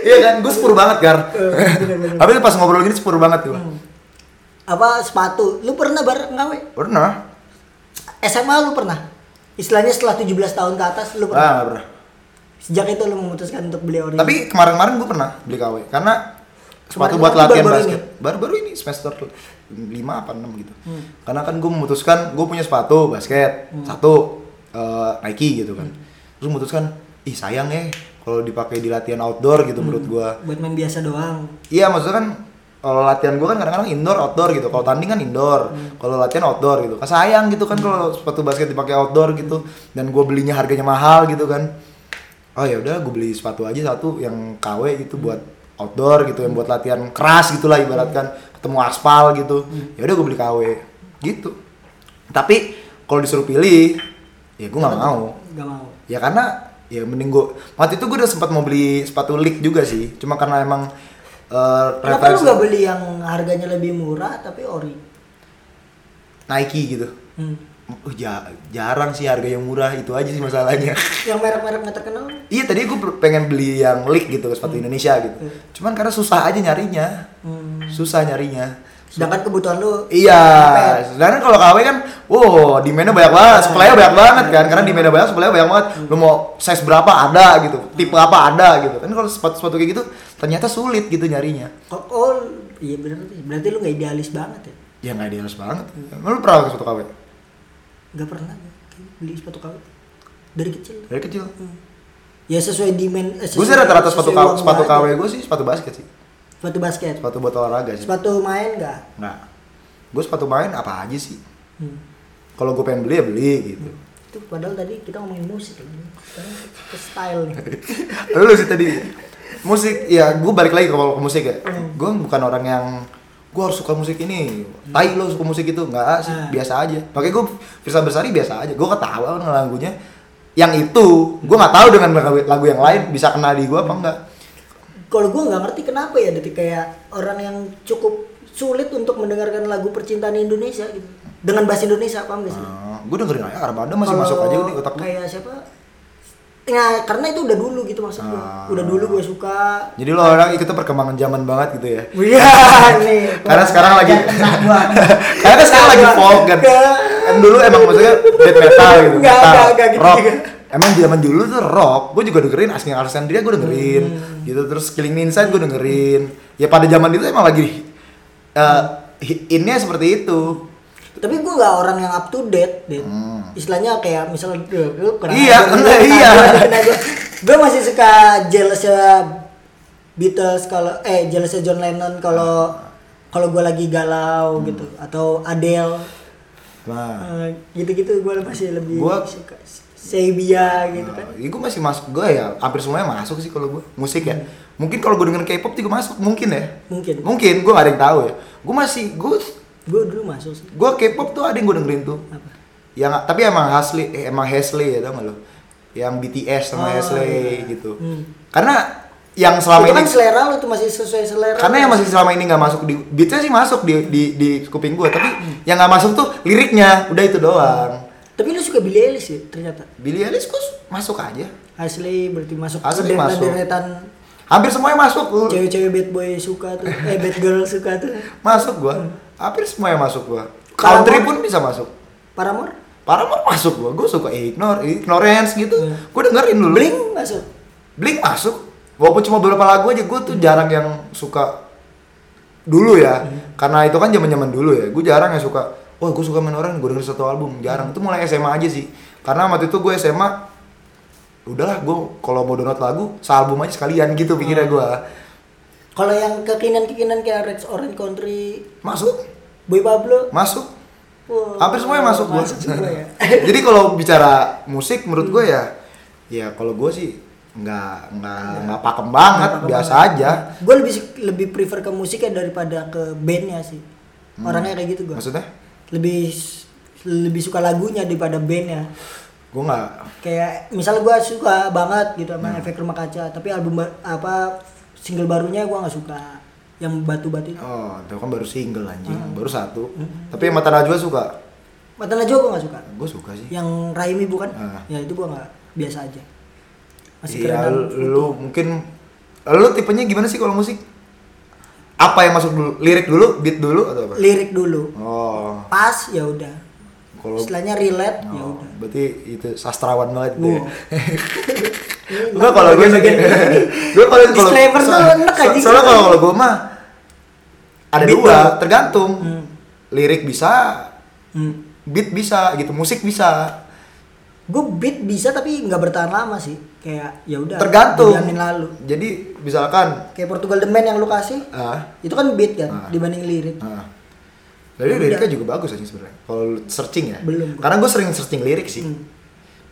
Speaker 2: Iya kan, gue sepur banget, Gar. Tapi pas ngobrol gini sepur banget gue.
Speaker 1: Apa sepatu? Lu pernah bareng KW?
Speaker 2: Pernah?
Speaker 1: SMA lu pernah? Istilahnya setelah 17 tahun ke atas lu
Speaker 2: Ah,
Speaker 1: pernah.
Speaker 2: nggak pernah.
Speaker 1: Sejak itu lu memutuskan untuk beli ori.
Speaker 2: Tapi kemarin-kemarin gue pernah beli KW karena sepatu
Speaker 1: Kemarin-kemarin
Speaker 2: buat latihan
Speaker 1: baru-baru
Speaker 2: basket. Baru-baru ini semester 5 apa 6 gitu.
Speaker 1: Hmm.
Speaker 2: Karena kan gue memutuskan gue punya sepatu basket satu eh, Nike gitu kan.
Speaker 1: Hmm.
Speaker 2: Terus memutuskan ih sayang ya kalau dipakai di latihan outdoor
Speaker 1: Hmm.
Speaker 2: gitu menurut gue.
Speaker 1: buat main biasa doang.
Speaker 2: Iya maksudnya kan kalau latihan gue kan kadang-kadang indoor outdoor gitu. Kalau tanding kan indoor, kalau latihan outdoor gitu. Kan sayang gitu kan kalau sepatu basket dipakai outdoor gitu dan gue belinya harganya mahal gitu kan. Oh ya udah gue beli sepatu aja satu yang KW gitu buat outdoor gitu yang buat latihan keras gitulah ibaratkan ketemu aspal gitu. Ya udah gue beli KW gitu. Tapi kalau disuruh pilih ya gue nggak mau
Speaker 1: Gak mau.
Speaker 2: ya karena ya mending gue waktu itu gue udah sempat mau beli sepatu leak juga sih cuma karena emang eh,
Speaker 1: Kenapa lu
Speaker 2: referensi
Speaker 1: nggak beli yang harganya lebih murah tapi ori?
Speaker 2: Nike gitu
Speaker 1: Hmm.
Speaker 2: Oh, ja- jarang sih harga yang murah itu aja sih masalahnya
Speaker 1: Yang merek-merek nggak terkenal?
Speaker 2: iya tadi gue pengen beli yang leak gitu sepatu Indonesia gitu cuman karena susah aja nyarinya
Speaker 1: Hmm. Hmm.
Speaker 2: susah nyarinya
Speaker 1: sedangkan kebutuhan lu
Speaker 2: Iya,
Speaker 1: mepet. Iya.
Speaker 2: sedangkan kalau KW kan, wow, demand-nya banyak banget, supply-nya banyak banget kan, karena demand-nya banyak, supply-nya banyak banget.
Speaker 1: Hmm.
Speaker 2: Lu mau size berapa ada gitu, tipe apa ada gitu. Kan kalau sepatu-sepatu kayak gitu ternyata sulit gitu nyarinya.
Speaker 1: oh, oh, iya bener sih berarti lu nggak idealis banget ya
Speaker 2: Ya nggak idealis banget. Emang Lu pernah pakai sepatu KW?
Speaker 1: nggak pernah gua kayak beli sepatu KW dari kecil
Speaker 2: Dari kecil.
Speaker 1: ya sesuai demand eh,
Speaker 2: Gue sih
Speaker 1: sesuai-
Speaker 2: rata-rata sepatu
Speaker 1: sesuai
Speaker 2: KW,
Speaker 1: uang
Speaker 2: sepatu
Speaker 1: gua
Speaker 2: KW
Speaker 1: aja.
Speaker 2: gue sih sepatu basket sih.
Speaker 1: sepatu basket
Speaker 2: Sepatu buat olahraga sih.
Speaker 1: sepatu main nggak
Speaker 2: Nggak. Gue sepatu main apa aja sih?
Speaker 1: Hmm.
Speaker 2: Kalau gue pengen beli ya beli gitu.
Speaker 1: itu padahal tadi kita ngomongin musik kan sekarang ke style nih
Speaker 2: lu sih tadi musik ya gue balik lagi ke kalau ke musik ya gue bukan orang yang gue harus suka musik ini tai lo suka musik itu nggak sih
Speaker 1: Ah.
Speaker 2: biasa aja makanya gue Firsa Bersari biasa aja gue ketawa dengan lagunya yang itu gue nggak tahu dengan lagu, lagu yang lain bisa kena di gue apa enggak
Speaker 1: kalau gue nggak ngerti kenapa ya detik kayak orang yang cukup sulit untuk mendengarkan lagu percintaan Indonesia gitu dengan bahasa Indonesia paham gak sih?
Speaker 2: gue dengerin aja Armada Ah. masih masuk
Speaker 1: Kalau
Speaker 2: aja di otak gue
Speaker 1: kayak siapa Nah, karena itu udah dulu gitu maksud gue.
Speaker 2: Ah.
Speaker 1: Udah dulu gue suka.
Speaker 2: jadi lo orang ikutnya perkembangan zaman banget gitu ya
Speaker 1: Iya nih.
Speaker 2: Karena sekarang lagi-
Speaker 1: Kena gua.
Speaker 2: karena kan sekarang lagi folk kan
Speaker 1: Enggak.
Speaker 2: kan dulu emang maksudnya death metal gitu
Speaker 1: Enggak,
Speaker 2: metal,
Speaker 1: enggak, enggak gitu
Speaker 2: rock
Speaker 1: juga.
Speaker 2: emang zaman dulu tuh rock gue juga dengerin asli Alexandria gue dengerin
Speaker 1: Hmm.
Speaker 2: gitu terus Killing Me Inside gue dengerin ya pada zaman itu emang lagi eh innya seperti itu
Speaker 1: Tapi gue gak orang yang up to date, Dit. Istilahnya kayak misalnya "Duh, lu kurang
Speaker 2: Hmm. Iya,
Speaker 1: ajar, kan. lu
Speaker 2: iya,
Speaker 1: kurang
Speaker 2: iya.
Speaker 1: ajar, lu kurang ajar." Gue masih suka jealousnya Beatles kalau eh jealousnya John Lennon kalau kalau gue lagi
Speaker 2: Hmm.
Speaker 1: galau gitu atau Adele eh,
Speaker 2: nah
Speaker 1: gitu-gitu gue masih lebih
Speaker 2: Gua-
Speaker 1: suka Sebia gitu kan.
Speaker 2: ya gue masih masuk gue ya hampir semuanya masuk sih kalau gue musik ya mungkin kalau gue denger K-pop juga masuk mungkin ya
Speaker 1: Mungkin.
Speaker 2: mungkin gue gak ada yang tahu ya gue masih gue
Speaker 1: Gue dulu masuk sih.
Speaker 2: gue K-pop tuh ada yang gue dengerin tuh
Speaker 1: Apa?
Speaker 2: yang tapi emang Hasli eh, emang Hesley ya tau gak lo yang BTS sama
Speaker 1: Oh,
Speaker 2: Hesley
Speaker 1: iya.
Speaker 2: gitu
Speaker 1: Hmm.
Speaker 2: karena yang selama
Speaker 1: itu
Speaker 2: ini
Speaker 1: kan selera lu tuh masih sesuai selera.
Speaker 2: karena yang masih selama ini nggak masuk di beatnya sih masuk di di, di kuping gue tapi
Speaker 1: Hmm.
Speaker 2: yang nggak masuk tuh liriknya udah itu doang
Speaker 1: Tapi lu suka Billie Eilish ya ternyata.
Speaker 2: Billie Eilish kok masuk aja
Speaker 1: Asli berarti masuk
Speaker 2: Asli masuk.
Speaker 1: deretan
Speaker 2: hampir semuanya masuk
Speaker 1: cewek-cewek bad boy suka tuh eh bad girl suka tuh
Speaker 2: masuk gue
Speaker 1: Hmm.
Speaker 2: hampir semuanya masuk gue
Speaker 1: Paramore?
Speaker 2: country pun bisa masuk
Speaker 1: Paramore
Speaker 2: Paramore masuk gue gue suka ignore ignorance gitu gue dengerin dulu
Speaker 1: Blink masuk
Speaker 2: Blink masuk walaupun cuma beberapa lagu aja gue tuh jarang yang suka dulu ya karena itu kan zaman zaman dulu ya gue jarang yang suka wah gue suka main orang gue denger satu album jarang itu mulai SMA aja sih karena waktu itu gue SMA udahlah gue kalau mau download lagu sealbum aja sekalian gitu pikirnya gue
Speaker 1: kalau yang ke kanan ke kanan kayak Rex Orange Country
Speaker 2: masuk
Speaker 1: Boy Pablo
Speaker 2: masuk
Speaker 1: Wah,
Speaker 2: hampir semuanya masuk, gua.
Speaker 1: masuk semua ya
Speaker 2: jadi kalau bicara musik menurut gue ya ya kalau gue sih nggak nggak nggak pakem banget biasa aja
Speaker 1: gue lebih lebih prefer ke musiknya daripada ke bandnya sih
Speaker 2: Hmm.
Speaker 1: orangnya kayak gitu gue
Speaker 2: maksudnya
Speaker 1: lebih lebih suka lagunya daripada bandnya
Speaker 2: gue nggak
Speaker 1: kayak misalnya gue suka banget gitu
Speaker 2: Hmm.
Speaker 1: sama efek rumah kaca tapi album ba- apa single barunya gue nggak suka yang batu-batu itu
Speaker 2: Oh, itu kan baru single anjing,
Speaker 1: Hmm.
Speaker 2: baru satu. Tapi mata Najwa suka.
Speaker 1: Mata Najwa gue nggak suka
Speaker 2: Gue suka sih.
Speaker 1: yang Raimi bukan
Speaker 2: Ah.
Speaker 1: ya itu gua nggak biasa aja masih
Speaker 2: Iya,
Speaker 1: keren
Speaker 2: lu mungkin lu tipenya gimana sih kalau musik? Apa yang masuk dulu? Lirik dulu, beat dulu atau apa?
Speaker 1: lirik dulu
Speaker 2: Oh.
Speaker 1: pas ya udah
Speaker 2: Kalau
Speaker 1: istilahnya relate
Speaker 2: oh,
Speaker 1: ya udah
Speaker 2: berarti itu sastrawan banget
Speaker 1: Wow.
Speaker 2: gitu. Ya. Enggak kalau gue sih.
Speaker 1: bagian ini
Speaker 2: Gue kalau kalau
Speaker 1: disclaimer tuh
Speaker 2: so-
Speaker 1: enak
Speaker 2: so-
Speaker 1: aja
Speaker 2: Soalnya
Speaker 1: gitu.
Speaker 2: kalau kalau gue mah ada
Speaker 1: Beat
Speaker 2: dua,
Speaker 1: dulu.
Speaker 2: tergantung.
Speaker 1: Hmm.
Speaker 2: Lirik bisa,
Speaker 1: hmm.
Speaker 2: beat bisa gitu, musik bisa.
Speaker 1: gue beat bisa tapi nggak bertahan lama sih kayak ya udah
Speaker 2: Tergantung.
Speaker 1: dijamin lalu
Speaker 2: Jadi misalkan
Speaker 1: kayak Portugal The Man yang lu kasih
Speaker 2: ah
Speaker 1: itu kan beat kan
Speaker 2: Ah.
Speaker 1: dibanding lirik
Speaker 2: Ah. Lalu liriknya juga bagus aja sebenarnya. Kalau lu searching ya.
Speaker 1: Belum. Hmm.
Speaker 2: Karena gue sering searching lirik sih.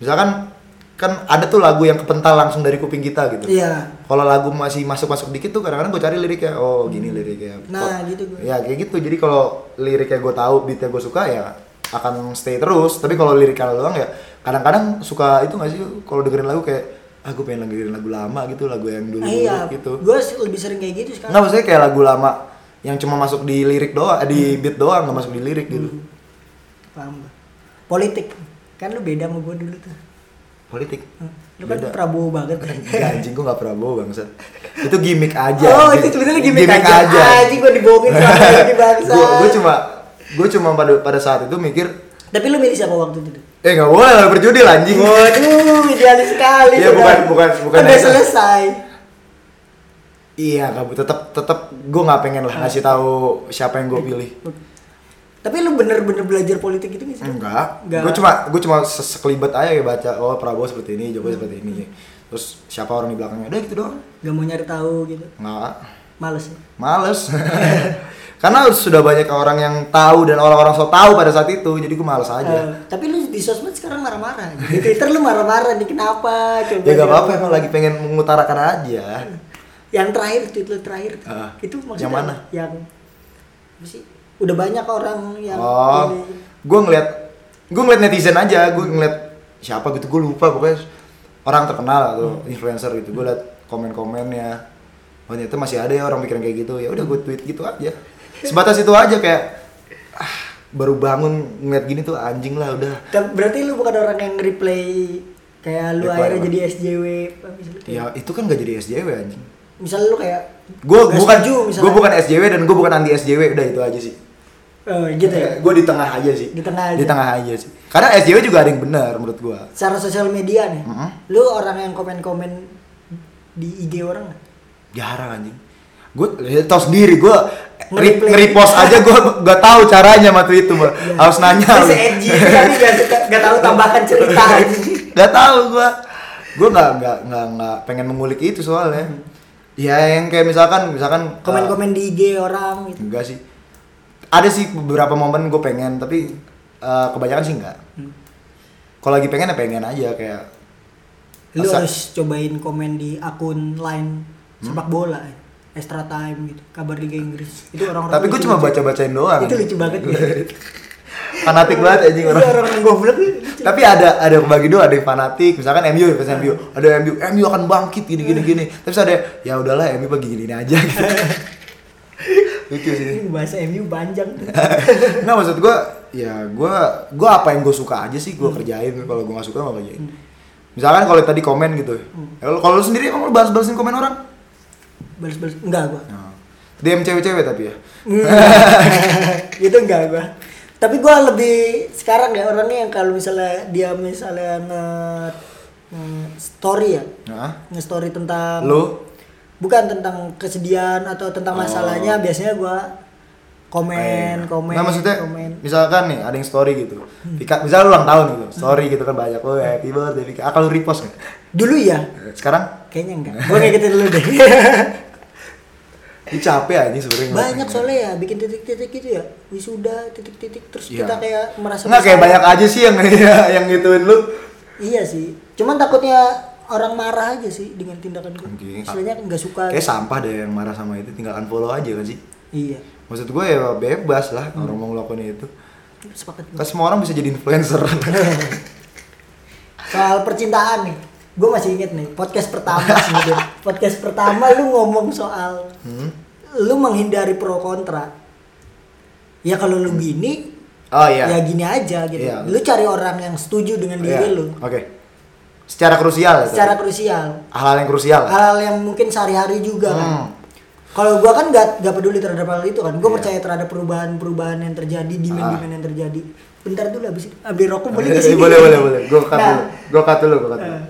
Speaker 2: Misalkan kan ada tuh lagu yang kepental langsung dari kuping kita gitu.
Speaker 1: iya
Speaker 2: Kalau lagu masih masuk-masuk dikit tuh kadang-kadang gue cari liriknya. Oh, gini liriknya.
Speaker 1: Nah,
Speaker 2: Kok-
Speaker 1: gitu gua.
Speaker 2: Ya kayak gitu. Jadi kalau liriknya gue tahu, beatnya gue suka ya akan stay terus. Tapi kalau liriknya doang ya kadang-kadang suka itu gak sih kalau dengerin lagu kayak ah gue pengen dengerin lagu lama gitu, lagu yang dulu
Speaker 1: nah, iya
Speaker 2: gitu.
Speaker 1: gue lebih sering kayak gitu sekarang
Speaker 2: Nggak maksudnya kayak lagu lama yang cuma masuk di lirik doang, eh,
Speaker 1: Hmm.
Speaker 2: di beat doang nggak masuk di lirik gitu.
Speaker 1: paham gua. politik kan lu beda sama gue dulu tuh
Speaker 2: Politik.
Speaker 1: lu kan
Speaker 2: Beda.
Speaker 1: Prabowo banget
Speaker 2: Gak anjing gua nggak Prabowo bangsat. Itu gimmick aja.
Speaker 1: Oh,
Speaker 2: anjing.
Speaker 1: itu sebenarnya gimmick aja. Anjing, gua dibohongin sama ini bangsa.
Speaker 2: gue gue cuma gue cuma pada pada saat itu mikir
Speaker 1: Tapi lu milih siapa waktu itu?
Speaker 2: eh nggak boleh lah berjudi lah anjing
Speaker 1: Waduh, idealis sekali.
Speaker 2: Iya,
Speaker 1: sudah.
Speaker 2: bukan- bukan- bukan
Speaker 1: Udah
Speaker 2: itu.
Speaker 1: selesai.
Speaker 2: iya nggak tetap tetap gue nggak pengen
Speaker 1: Hmm.
Speaker 2: lah ngasih tahu siapa yang gue pilih
Speaker 1: Tapi lu bener-bener belajar politik gitu nggak
Speaker 2: Hmm.
Speaker 1: sih?
Speaker 2: Enggak.
Speaker 1: Enggak.
Speaker 2: Gue cuma gue cuma se- sekelibet aja ya baca oh Prabowo seperti ini, Jokowi seperti ini.
Speaker 1: Hmm.
Speaker 2: Terus siapa orang di belakangnya? Udah gitu doang.
Speaker 1: Gak mau nyari tahu gitu.
Speaker 2: Enggak.
Speaker 1: Males ya.
Speaker 2: Males. Karena sudah banyak orang yang tahu dan orang-orang so tahu pada saat itu, jadi gue males
Speaker 1: Eh,
Speaker 2: aja.
Speaker 1: tapi lu di sosmed sekarang marah-marah. Di Twitter lu marah-marah nih kenapa? Coba.
Speaker 2: ya gak apa-apa
Speaker 1: jawab.
Speaker 2: emang lagi pengen mengutarakan aja.
Speaker 1: Yang terakhir tweet lu terakhir.
Speaker 2: Ah.
Speaker 1: itu maksudnya
Speaker 2: Yang mana?
Speaker 1: Yang apa sih? Udah banyak orang yang
Speaker 2: oh,
Speaker 1: ini.
Speaker 2: gue ngeliat gue ngeliat netizen aja, gue ngeliat siapa gitu gue lupa pokoknya orang terkenal atau
Speaker 1: Hmm.
Speaker 2: influencer gitu, gue liat komen-komennya. Oh ternyata masih ada ya orang pikiran kayak gitu, ya udah gue tweet gitu aja. Sebatas itu aja kayak ah, baru bangun ngeliat gini tuh anjing lah udah.
Speaker 1: Ta- Berarti lu bukan orang yang replay kayak lu
Speaker 2: Reply
Speaker 1: akhirnya
Speaker 2: apa?
Speaker 1: jadi SJW apa misalnya.
Speaker 2: Ya itu kan gak jadi SJW anjing.
Speaker 1: Misalnya lu kayak
Speaker 2: Gue
Speaker 1: nggak
Speaker 2: bukan
Speaker 1: setuju misalnya.
Speaker 2: gue bukan SJW dan gue bukan anti SJW udah itu aja sih.
Speaker 1: Eh, gitu ya.
Speaker 2: Gue di tengah aja sih.
Speaker 1: Di tengah aja.
Speaker 2: Di tengah aja sih. Karena SJW juga ada yang benar menurut gue.
Speaker 1: Secara sosial media nih.
Speaker 2: Mm-mm.
Speaker 1: Lu orang yang komen-komen di IG orang nggak?
Speaker 2: jarang anjing gue tau sendiri gue
Speaker 1: Nge-replay. Iya.
Speaker 2: repost aja gue gak tahu caranya matu itu Mbak. harus nanya
Speaker 1: Lu si edgy, tapi gak, suka- gak tahu tambahkan cerita aja.
Speaker 2: gak tahu gue gue nggak nggak nggak nggak pengen mengulik itu soalnya ya yang kayak misalkan misalkan uh,
Speaker 1: Komen-komen di IG orang gitu.
Speaker 2: enggak sih ada sih beberapa momen gue pengen tapi uh, kebanyakan sih enggak kalau lagi pengen ya pengen aja kayak
Speaker 1: Lu
Speaker 2: Asa- Hmm.
Speaker 1: harus cobain komen di akun line sepak bola. Extra time gitu, kabar Liga Inggris. Itu orang-orang
Speaker 2: tapi gue
Speaker 1: lucu
Speaker 2: cuma
Speaker 1: banget.
Speaker 2: baca bacain doang
Speaker 1: Itu lucu banget ya.
Speaker 2: fanatik banget anjing
Speaker 1: Iya,
Speaker 2: orang
Speaker 1: orang-orang goblok nih, lucu.
Speaker 2: tapi ada ada pembagi dua ada yang fanatik misalkan MU ya, fans MU ada yang MU MU akan bangkit gini gini gini tapi ada yang, ya udahlah MU pagi gini aja gitu lucu sih
Speaker 1: Ini bahasa MU panjang tuh.
Speaker 2: nggak maksud gua ya gua gua apa yang gue suka aja sih gua kerjain kalau gua nggak suka nggak kerjain misalkan kalau tadi komen gitu ya lu- kalau lu sendiri emang lu balas balasin komen orang
Speaker 1: Balas-balas enggak gua.
Speaker 2: DM cewek-cewek tapi ya
Speaker 1: itu Gitu enggak gua tapi gua lebih sekarang ya orangnya yang kalau misalnya dia misalnya nge, nge- story ya
Speaker 2: nah,
Speaker 1: nge story tentang
Speaker 2: lu
Speaker 1: bukan tentang kesedihan atau tentang masalahnya biasanya gua komen komen
Speaker 2: Oh. Nah maksudnya
Speaker 1: komen Hmm.
Speaker 2: misalkan nih ada yang story gitu. Pika, misalnya lu ulang tahun gitu, story gitu kan banyak. Oh happy birthday Pika. Ah, kalau lu repost nggak?
Speaker 1: dulu ya
Speaker 2: Eh, Sekarang
Speaker 1: kayaknya enggak gua ngikutin dulu deh
Speaker 2: ini capek aja sebenarnya.
Speaker 1: banyak soalnya ya bikin titik-titik gitu ya wisuda titik-titik terus
Speaker 2: Iya.
Speaker 1: kita kayak merasa
Speaker 2: Enggak kayak
Speaker 1: bersalah.
Speaker 2: banyak aja sih yang ya, yang gituin lu.
Speaker 1: Iya sih. Cuman takutnya orang marah aja sih dengan tindakan gue.
Speaker 2: Mungkin.
Speaker 1: Istilahnya nggak suka.
Speaker 2: Kayak sampah deh yang marah sama itu tinggal unfollow aja kan sih.
Speaker 1: Iya.
Speaker 2: Maksud gue ya bebas lah
Speaker 1: Hmm.
Speaker 2: orang mau ngelakuin itu.
Speaker 1: Sepakat. gua.
Speaker 2: Kan semua orang bisa jadi influencer.
Speaker 1: Soal percintaan nih, gue masih inget nih podcast pertama sebenarnya. Podcast pertama lu ngomong soal
Speaker 2: Hmm.
Speaker 1: lu menghindari pro kontra. Ya kalau lu gini,
Speaker 2: oh iya.
Speaker 1: ya gini aja gitu.
Speaker 2: Iya.
Speaker 1: Lu cari orang yang setuju dengan
Speaker 2: Iya.
Speaker 1: diri lu.
Speaker 2: Oke. Secara krusial ya,
Speaker 1: Secara
Speaker 2: tapi.
Speaker 1: krusial.
Speaker 2: hal-hal yang krusial.
Speaker 1: hal yang mungkin sehari-hari juga kan.
Speaker 2: Hmm. Iya.
Speaker 1: Kalau gua kan gak, gak peduli terhadap hal itu kan. Gua percaya terhadap perubahan-perubahan yang terjadi, demand-demand yang terjadi. Bentar dulu habis itu. Ambil rokok boleh gak sih?
Speaker 2: Ah. Eh, boleh boleh boleh. Gue cut
Speaker 1: Nah,
Speaker 2: dulu. Gue cut dulu, gue cut dulu.
Speaker 1: eh,